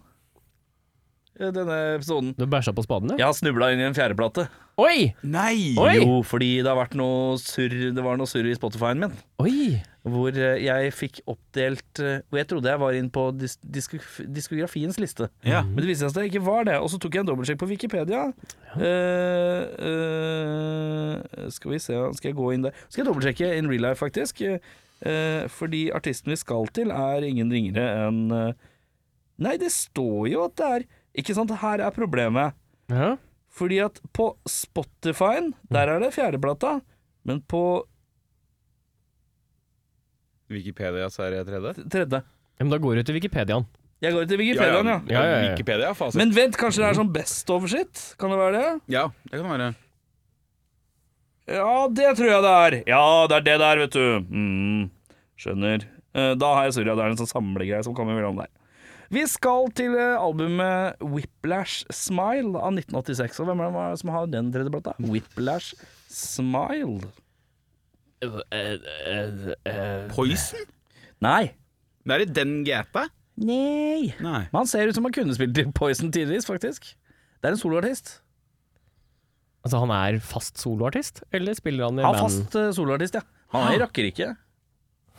S3: Eh, Denne episoden.
S2: Du bæsja på spaden, ja?
S3: Jeg har snubla inn i en fjerdeplate.
S2: Oi!
S1: Nei!
S2: Oi!
S3: Jo, fordi det har vært noe surr Det var noe surr i Spotify-en min.
S2: Oi!
S3: Hvor eh, jeg fikk oppdelt eh, Og jeg trodde jeg var inn på dis disko- diskografiens liste.
S1: Ja.
S3: Men det viste seg at jeg ikke var det. Og så tok jeg en dobbeltsjekk på Wikipedia. Eh, eh, skal vi se Skal jeg gå inn der? Skal jeg dobbeltsjekke in real life, faktisk? Eh, fordi artisten vi skal til, er ingen ringere enn eh, Nei, det står jo at det er Ikke sant? Her er problemet.
S2: Ja.
S3: Fordi at på Spotify-en, der er det fjerdeplata, men på
S1: Wikipedia, så er det tredje.
S3: tredje.
S2: Men da går du til Wikipediaen.
S3: Jeg går til Wikipediaen, ja.
S2: Ja, ja, ja.
S1: Wikipedia, fasit.
S3: Men vent, kanskje det er sånn best of shit? Kan det være det?
S1: Ja, det kan være.
S3: Ja, det tror jeg det er. Ja, det er det der, vet du. Mm, skjønner. Eh, Da har jeg surra. Det er en sånn samlegreie som kommer mellom der. Vi skal til eh, albumet Whiplash Smile av 1986. Og hvem er det som har den tredje plata? Whiplash Smile?
S1: eh. Poison?
S3: Nei.
S1: Det er i den GP?
S3: Nei.
S1: Nei.
S3: Men han ser ut som han kunne spilt i Poison tidligvis, faktisk. Det er en soloartist.
S2: Altså, han er fast soloartist, eller spiller han i
S3: Han
S2: band?
S3: er fast eh, soloartist, ja. Han er i rakkerike.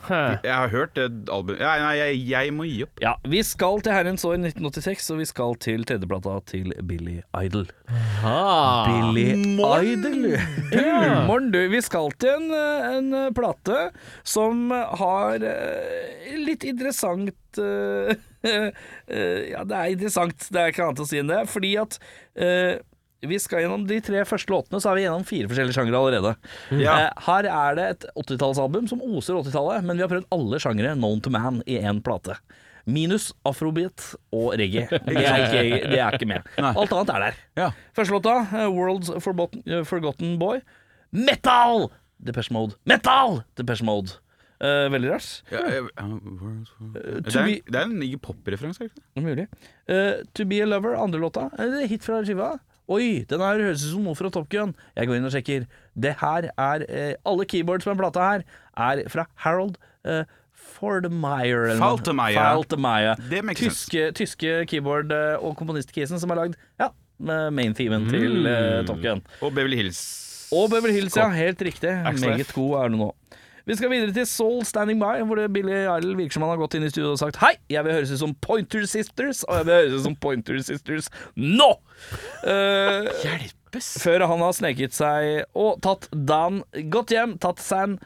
S2: Hæ.
S1: Jeg har hørt det albumet Nei, nei jeg, jeg må gi opp.
S3: Ja, vi skal til herrens år 1986, og vi skal til tredjeplata til Billy Idol.
S2: Ah.
S3: Billy
S1: morn!
S3: Idol! Du, morn, du. Vi skal til en, eh, en eh, plate som har eh, litt interessant eh, eh, Ja, det er interessant, det er ikke annet å si enn det. Fordi at eh, vi skal gjennom de tre første låtene, så er vi gjennom fire forskjellige sjangre allerede.
S1: Ja.
S3: Eh, her er det et 80-tallsalbum som oser 80-tallet, men vi har prøvd alle sjangre known to man i én plate. Minus afrobeat og reggae. Det er ikke, det er ikke med. Alt annet er der.
S1: Ja.
S3: Første låta, eh, 'World's Forbotten, eh, Forgotten Boy'. Metal! Depeche Mode. Metal! Depeche Mode. Eh, veldig rart.
S1: Ja, jeg- ja, words, words. Det
S3: to
S1: er,
S3: be-
S1: Eh, det er en ny pop-referanse, er det ikke?
S3: Det er mulig. Eh, 'To Be A Lover', andre låta. Eh, det er hit fra skiva. Oi, den her høres ut som noe fra Top Gun. Jeg går inn og sjekker. Det her er eh, Alle keyboards på den plata her er fra Harold eh, Faldemeyer. eller noe.
S1: Faldemeyer.
S3: Faldemeyer.
S1: Det makes
S3: Tyske, tyske keyboard- eh, og komponist-kisen som har lagd ja, eh, main-themen til eh, Top Gun.
S1: Og Beverly Hills.
S3: Og Beverly Hills, ja. Helt riktig.
S1: Axel
S3: Meget
S1: F.
S3: god er du nå. Vi skal videre til Soul Standing By, hvor det Billy Idol virker som han har gått inn i studio og sagt Hei, jeg vil høres ut som Pointer Sisters, og jeg vil høres ut som Pointer Sisters nå! Eh, før han har sneket seg og tatt Dan godt hjem, tatt seg en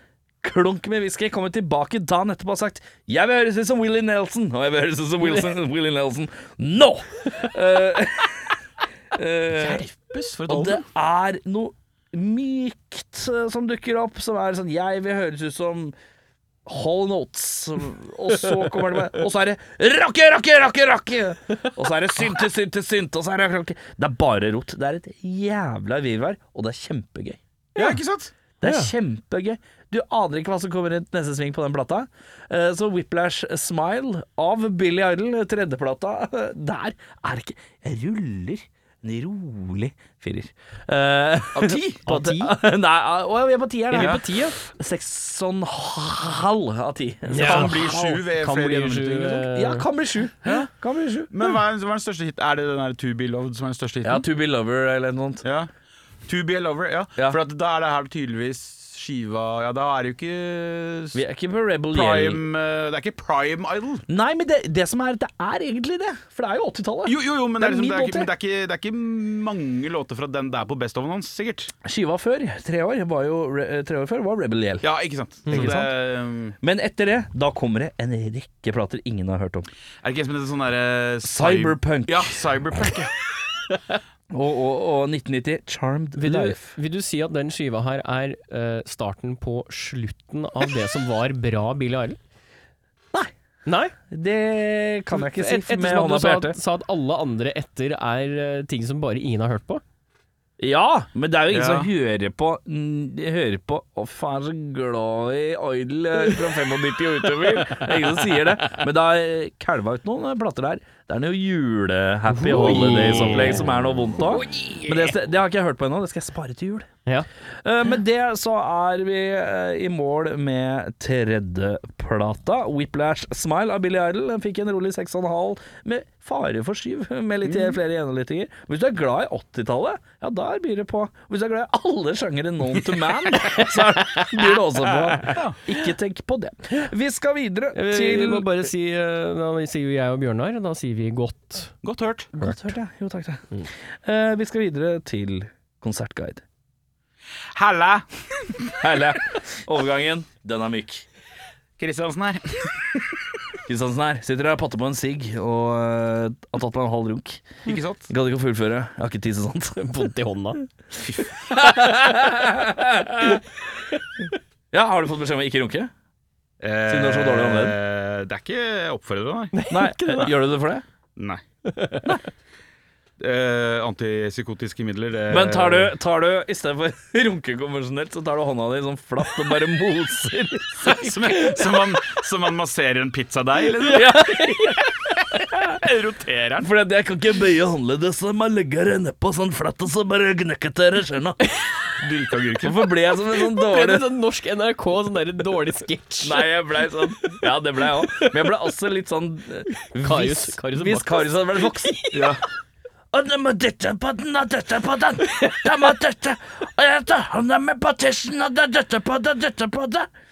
S3: klunk med whisky, kommet tilbake dagen etterpå og sagt 'Jeg vil høres ut som Willy Nelson', og jeg vil høres ut som Wilson, Willy Nelson nå! Eh, eh,
S1: Hjelpes for et
S3: og det er noe mykt eh, som dukker opp, som er sånn Jeg vil høres ut som Hall Notes. Og så kommer det bare Og så er det rocke, rocke, rocke, rocke! Og så er det synte, synte, synte, og så er det rocke. Det er bare rot. Det er et jævla virvar, og det er kjempegøy.
S1: Ja, ikke sant?
S3: Det er kjempegøy. Du aner ikke hva som kommer rundt neste sving på den plata. Eh, Så Whiplash Smile av Billy Idol, tredjeplata, der er det ikke Jeg ruller en rolig firer. Eh, Av ti?
S2: Av ti?
S3: Nei, ah, å, vi er på tieren.
S2: Vi
S3: ja.
S2: er på ti, ja.
S3: Seks og en halv av ti.
S2: Ja.
S1: Kan bli sju ved
S2: Kan
S1: flere
S2: bli
S1: gjennomsnittlig,
S2: sju,
S1: liksom.
S2: eh,
S3: Ja, kan bli sju. Kan bli sju.
S1: Men hva er, hva er den største hit? Er det den der To Be Loved som er den største hiten?
S3: To Be Lover eller noe sånt.
S1: Ja. To be a lover, ja.
S3: Ja.
S1: For at da er det her tydeligvis skiva Ja, da er det jo ikke
S3: Vi er ikke på Rebel Yell.
S1: Prime eh, Det er ikke Prime Idol.
S3: Nei, men det, det som er, det er egentlig det. For det er jo 80-tallet.
S1: Jo, jo, jo, men
S3: Det
S1: det er,
S3: er
S1: liksom, det er,
S3: min
S1: ikke,
S3: låt,
S1: men det er, ikke, det er ikke mange låter fra den der på best of hans, sikkert.
S3: Skiva før, tre år, var jo, re- eh, tre år før, var Rebel Yell.
S1: Ja, ikke sant. Så
S3: Ikke
S1: det,
S3: sant?
S1: um,
S3: Men etter det, da kommer det en rekke plater ingen har hørt om.
S1: Er det ikke en som heter sånn derre
S3: Cyberpunk.
S1: Ja, Cyberpunk. Ja.
S3: Og, og, og 1990, Charmed
S2: Vil du,
S3: Life.
S2: vil du si at den skiva her er eh, starten på slutten av det som var bra Billie Island?
S3: Nei.
S2: Nei?
S3: Det kan jeg ikke si
S2: Et-
S3: med
S2: ettersom at
S3: hånda
S2: du
S3: på
S2: sa at,
S3: hjertet.
S2: sa at alle andre etter er eh, ting som bare ingen har hørt på.
S3: Ja, men det er jo ingen
S1: Ja.
S3: som hører på mm, De hører på Å, faen, jeg er så glad i Idol eh, fra 95 og utover. Det er ingen som sier det. Men det har eh, kalva ut noen eh, plater der. Det er noe jule-happy holidays-opplegg som er noe vondt av. Men det, det har ikke jeg hørt på ennå. Det skal jeg spare til jul.
S2: Ja.
S3: Eh, Med det så er vi eh, i mål med tredjeplata. Whiplash Smile av Billy Idol. Den fikk en rolig 6,5 med fare for syv, med litt flere gjennomlyttinger. Hvis du er glad i 80-tallet, ja, der byr det på. Hvis du er glad i alle sjangere known to man, så byr det også på. Ikke tenk på det. Eh, Vi skal videre
S2: Eh, Vi,
S3: til
S2: vi må bare si eh, Da sier jo jeg og Bjørnar, da sier vi godt.
S1: Godt hørt.
S3: Godt hørt, ja. Jo, takk, takk. Eh, Vi skal videre til konsertguide.
S1: Halla!
S3: Herlig. Overgangen, den er myk.
S1: Kristiansen her.
S3: Kristiansen her sitter der og patter på en sigg og øh, har tatt meg en halv runk.
S1: Ikke sant?
S3: Gadd ikke å fullføre. Jeg har ikke tid til sånt.
S2: Vondt i hånda.
S3: Ja, Har du fått beskjed om å ikke runke? Siden du er så dårlig
S1: håndledd? Eh, Det er ikke oppfordrende, nei.
S3: Nei. Gjør du det for det?
S1: nei. Eh, antipsykotiske midler det,
S3: Men tar du, tar du i stedet for runke konvensjonelt, så tar du hånda di sånn flatt og bare moser?
S1: som, som, man, som man masserer en pizzadeig, eller?
S3: Ja,
S1: Roterer den?
S3: for jeg kan ikke bøye håndleddet, så jeg må legge det nedpå sånn flatt, og så bare gnekke til det skjønna.
S1: Dyrkeagurken.
S3: Hvorfor ble jeg som en sånn
S2: Det er
S3: dårlig
S2: en sånn norsk NRK, sånn der dårlig sketsj.
S3: Nei, jeg blei sånn Ja, det blei jeg òg. Men jeg blei også litt sånn eh,
S2: Karius-
S3: hvis-
S2: Karius og
S3: Hvis
S2: Baktus.
S3: Karius hadde vært voksen. ja. Og nå må dytte på den og dytte på den. Da må dytte Og jeg tar hånda mi på tissen og da dytter på den, dytter på den.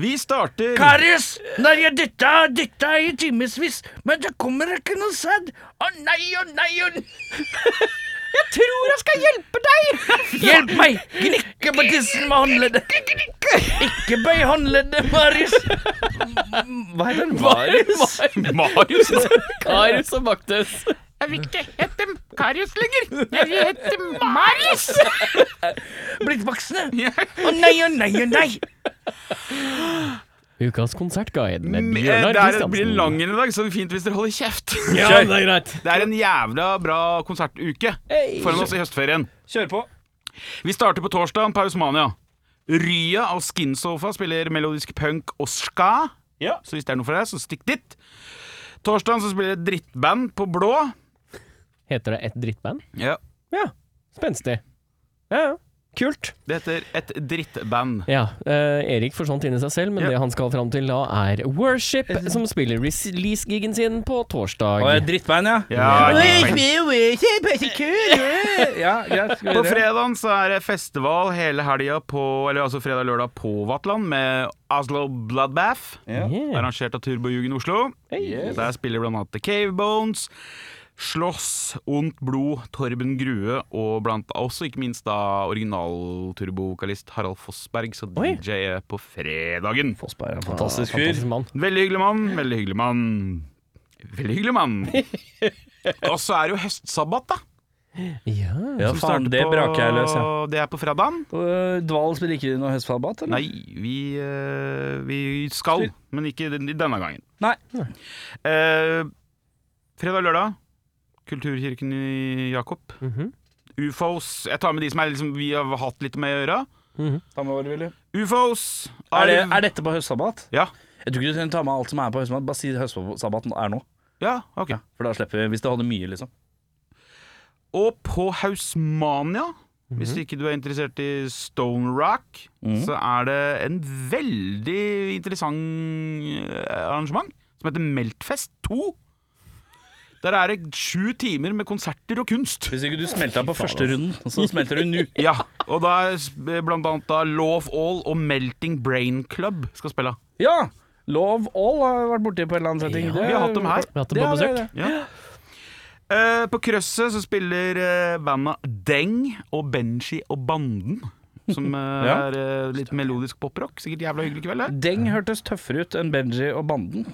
S1: Vi starter
S3: Karius, når jeg dytta og dytta i timevis, men det kommer ikke noe sæd. Å nei, å nei, å nei. Jeg tror jeg skal hjelpe deg. Hjelp meg. Gnikke på tissen med håndleddet. Ikke bøy håndleddet, Marius. Hva heter det? Marius?
S1: Marius.
S2: Karius og Baktus.
S3: Blitt voksne. Å nei, å nei, å nei.
S2: Ukas konsertguide med
S1: Eh,
S2: Bjørnar
S1: Det er- det blir en
S2: Kristiansen.
S1: lang en i dag, så det er fint hvis dere holder kjeft.
S2: Ja, det er greit.
S1: Det er en jævla bra konsertuke foran oss i høstferien.
S3: Kjør på.
S1: Vi starter på torsdag, Pausmania. Rya av Skinsofa spiller melodisk punk og ska.
S3: Ja.
S1: Så hvis det er noe for deg, så stikk dit. Torsdagen så spiller et drittband på blå.
S2: Heter det et drittband?
S1: Ja,
S2: Ja. Spenstig. Ja, ja. Kult.
S1: Det heter et drittband.
S2: Ja, eh, Erik forsvant inn i seg selv, men
S1: Ja.
S2: det han skal fram til da, er Worship, som spiller release-gigen sin på torsdag.
S3: drittbein, ja.
S1: Ja,
S3: Ja, greit. Skal vi
S1: På
S3: videre?
S1: fredagen så er det festival hele helga på Eller altså fredag-lørdag på Vatland med Oslo Bloodbath.
S2: Yeah.
S1: Arrangert av Turbojugen Oslo. Der spiller blant annet The Cavebones, Slåss, Ondt Blod, Torben Grue og blant også ikke minst da original-turbovokalist Harald Fossberg, så
S2: Oi.
S1: DJ er på fredagen.
S3: Fossberg er en fantastisk fyr.
S2: Fantastisk mann.
S1: Veldig hyggelig mann, veldig hyggelig mann. Veldig hyggelig mann. Og så er det jo høstsabbat, da.
S2: Ja.
S3: Ja,
S1: som
S3: faen,
S1: starter
S3: det
S1: på-
S3: braker jeg løs, ja.
S1: Det er på fredagen.
S3: Øh, Dvalen spiller ikke noe høstfallbat, eller?
S1: Nei, vi, eh, vi skal, men ikke den- denne gangen.
S3: Nei.
S1: Eh, fredag og lørdag, Kulturkirken i Jakob.
S2: Mhm.
S1: UFOs Jeg tar med de som er liksom, vi har hatt litt med å gjøre.
S3: Ta med hva du vil, du.
S1: UFOs
S3: Er, det,
S1: Arv-
S3: er dette på høstsabbat?
S1: Ja.
S3: Jeg tror ikke du trenger ta med alt som er på høstsabbat. Bare si høstsabbaten er nå.
S1: ja, ok.
S3: For da slipper vi, hvis det hadde mye, liksom.
S1: Og på Hausmania, hvis ikke du er interessert i Stone Rock, så er det en veldig interessant eh, arrangement som heter Meltfest 2. Der er det sju timer med konserter og kunst.
S3: Hvis ikke du smelta på første runden, så smelter du nå.
S1: Ja, og da er s- blant annet da Law of All og Melting Brain Club skal spille.
S3: Ja! Love All har vært borti på en eller annen setting.
S2: Ja,
S3: Det-
S1: vi har hatt dem her.
S2: Vi har hatt dem
S3: Det
S2: på
S3: er
S2: besøk.
S3: det.
S1: Ja. Eh, på krøsset så spiller eh, banda Deng og Benji og Banden. Som eh,
S3: Ja.
S1: er eh, litt melodisk poprock. Sikkert jævla hyggelig kveld, det.
S3: Deng hørtes tøffere ut enn Benji og Banden.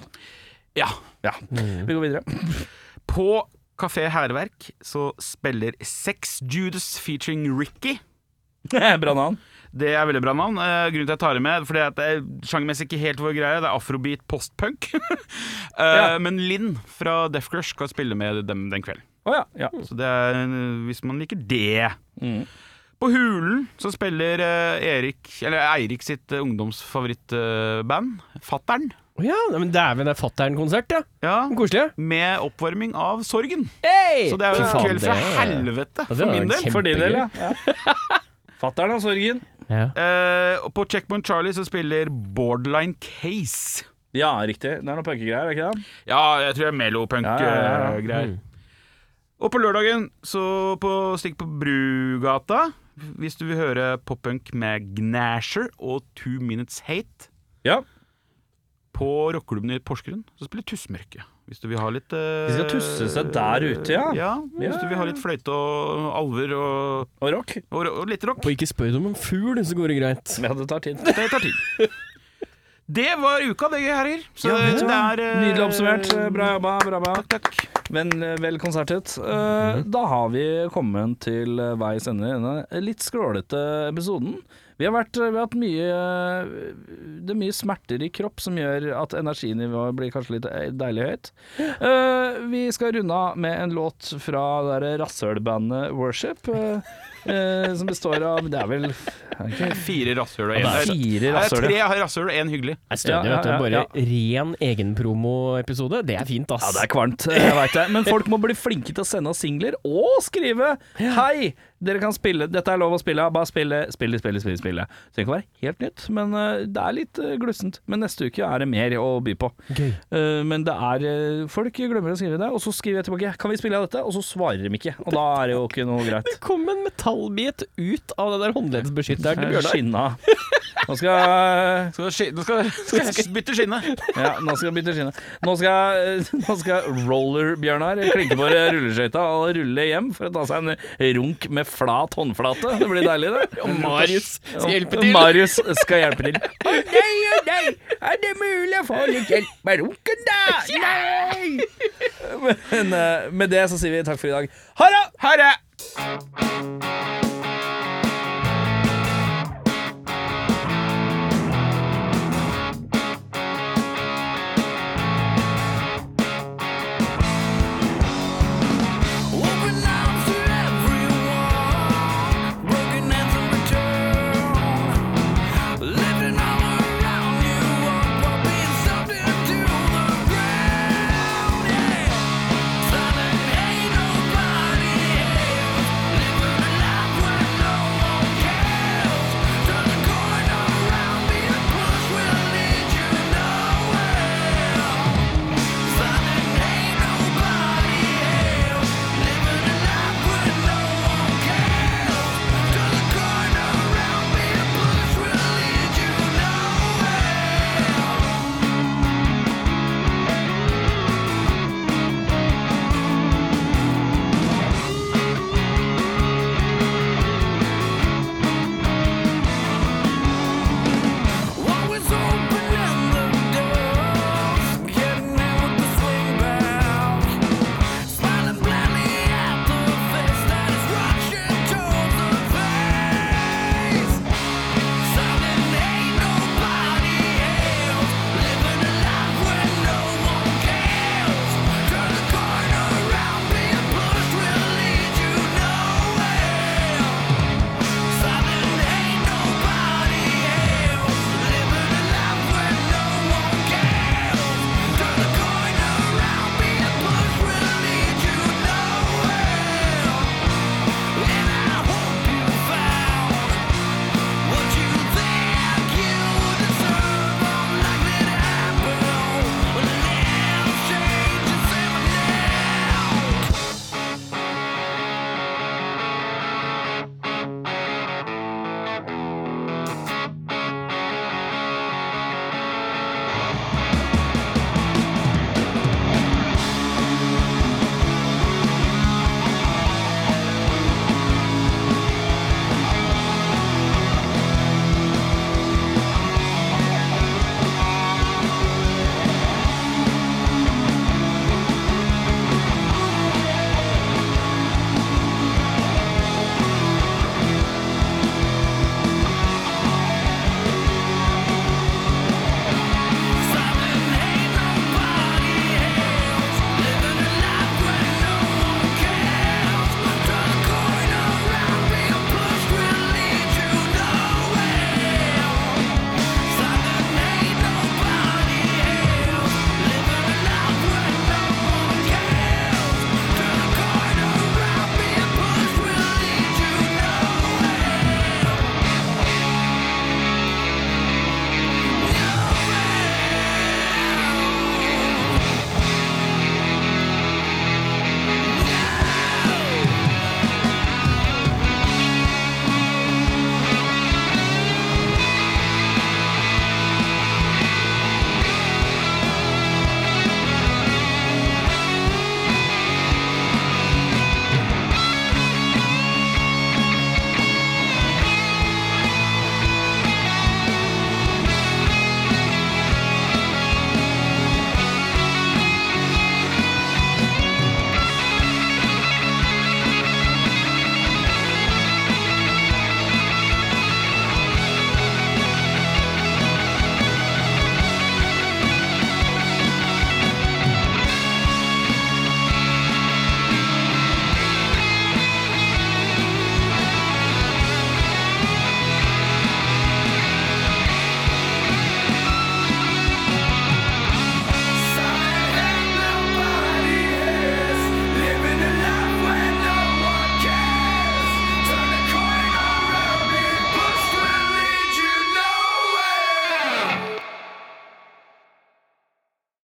S1: Ja.
S3: Ja,
S1: Mm.
S3: Vi går videre.
S1: På Kafé Hærverk så spiller Sex Judas featuring Ricky.
S3: Bra navn.
S1: Det er veldig bra navn. Eh, grunnen til at jeg tar det med, fordi at det er sjangermessig ikke helt vår greie. Det er afrobeat postpunk. Eh,
S3: Ja.
S1: Men Linn fra Def Crush skal spille med dem den kvelden.
S3: Å ja. ja.
S1: Så det er, eh, hvis man liker det.
S2: Mm.
S1: På Hulen så spiller eh, Erik, eller Eirik sitt eh, ungdomsfavorittband, eh, Fattern.
S2: Å ja, nei, men dæven, det er fatter'n-konsert, ja.
S1: Ja,
S2: Koselig.
S1: med oppvarming av Sorgen.
S2: Hey!
S1: Så det er jo
S2: Fy
S1: en
S2: faen,
S1: kveld fra
S2: det er-
S1: helvete,
S2: det
S1: for
S2: er
S1: min del.
S2: kjempe-
S3: For din del, ja. ja. Fatter'n og sorgen.
S2: Ja.
S1: Eh, og på Checkpoint Charlie så spiller Borderline Case.
S3: Ja, riktig. Det er noe punkegreier, er det ikke det?
S1: Ja, jeg tror det er
S3: Ja, ja, ja, ja.
S1: melopunk-greier. Og på lørdagen, så på, stikk på Brugata, hvis du vil høre poppunk med Gnasher og Two Minutes Hate,
S3: Ja.
S1: på rockeklubben i Porsgrunn, så spiller Tussmørke. Hvis du vil ha litt eh,
S3: De skal tusse seg der ute, ja.
S1: Ja, hvis
S3: Ja,
S1: du vil
S3: ja,
S1: ha litt fløyte og alver og,
S3: Og rock.
S1: og, og litt rock.
S2: Og ikke spør om en fugl, så går det greit.
S3: Ja, det tar tid.
S1: Det tar tid. Det var uka, det, herrer. Så
S3: Ja,
S1: det, er eh,
S3: Nydelig oppsummert. Bra jobba. bra jobba
S1: Takk, takk.
S3: Vel, vel konsertet. Eh, Da har vi kommet til eh, veis ende i denne litt skrålete episoden. Vi har, vært, vi har hatt mye eh, Det er mye smerter i kropp som gjør at energinivået blir kanskje litt eh, deilig høyt. Eh, vi skal runde av med en låt fra det der rasshølbandet Worship. eh, eh, som består av Det er vel er det ikke,
S1: Fire rasshøl og
S2: Ja, det er
S1: én.
S3: fire
S1: Nei,
S3: rasshøl.
S1: Tre rasshøl og én hyggelig.
S2: Det er stødig,
S3: Ja,
S2: vet du.
S3: ja,
S2: Bare
S3: ja,
S2: ren egenpromo-episode. Det er fint, ass.
S3: Ja, det er kvalmt, jeg vet det. Men folk må bli flinke til å sende oss singler og skrive 'Hei, dere kan spille, dette er lov å spille, bare spille, spille, spille'. spille, spille. Så det kan være helt nytt, men eh, det er litt eh, glussent. Men neste uke er det mer å by på.
S2: Gøy.
S3: Eh, Men det er eh, Folk glemmer å skrive det, og så skriver jeg tilbake 'Kan vi spille av dette?' Og så svarer de ikke. Og da er det jo ikke noe greit.
S2: Det kom en metallbit ut av den der håndleddsbeskytteren til Bjørnar.
S3: Eh, Skinna. Nå skal,
S1: Skal skin- Nå skal, skal jeg bytte skinne.
S3: ja, nå skal jeg bytte skinne. Nå skal, nå skal roller-Bjørnar klinke på rulleskøyta og rulle hjem for å ta seg en runk med flat håndflate. Det blir deilig, det.
S2: Og Marius skal hjelpe
S3: Og
S2: til.
S3: Marius skal hjelpe til. Å nei, å nei, er det mulig å få litt hjelp med runken, da? Nei! Men eh, med det så sier vi takk for i dag. Ha det!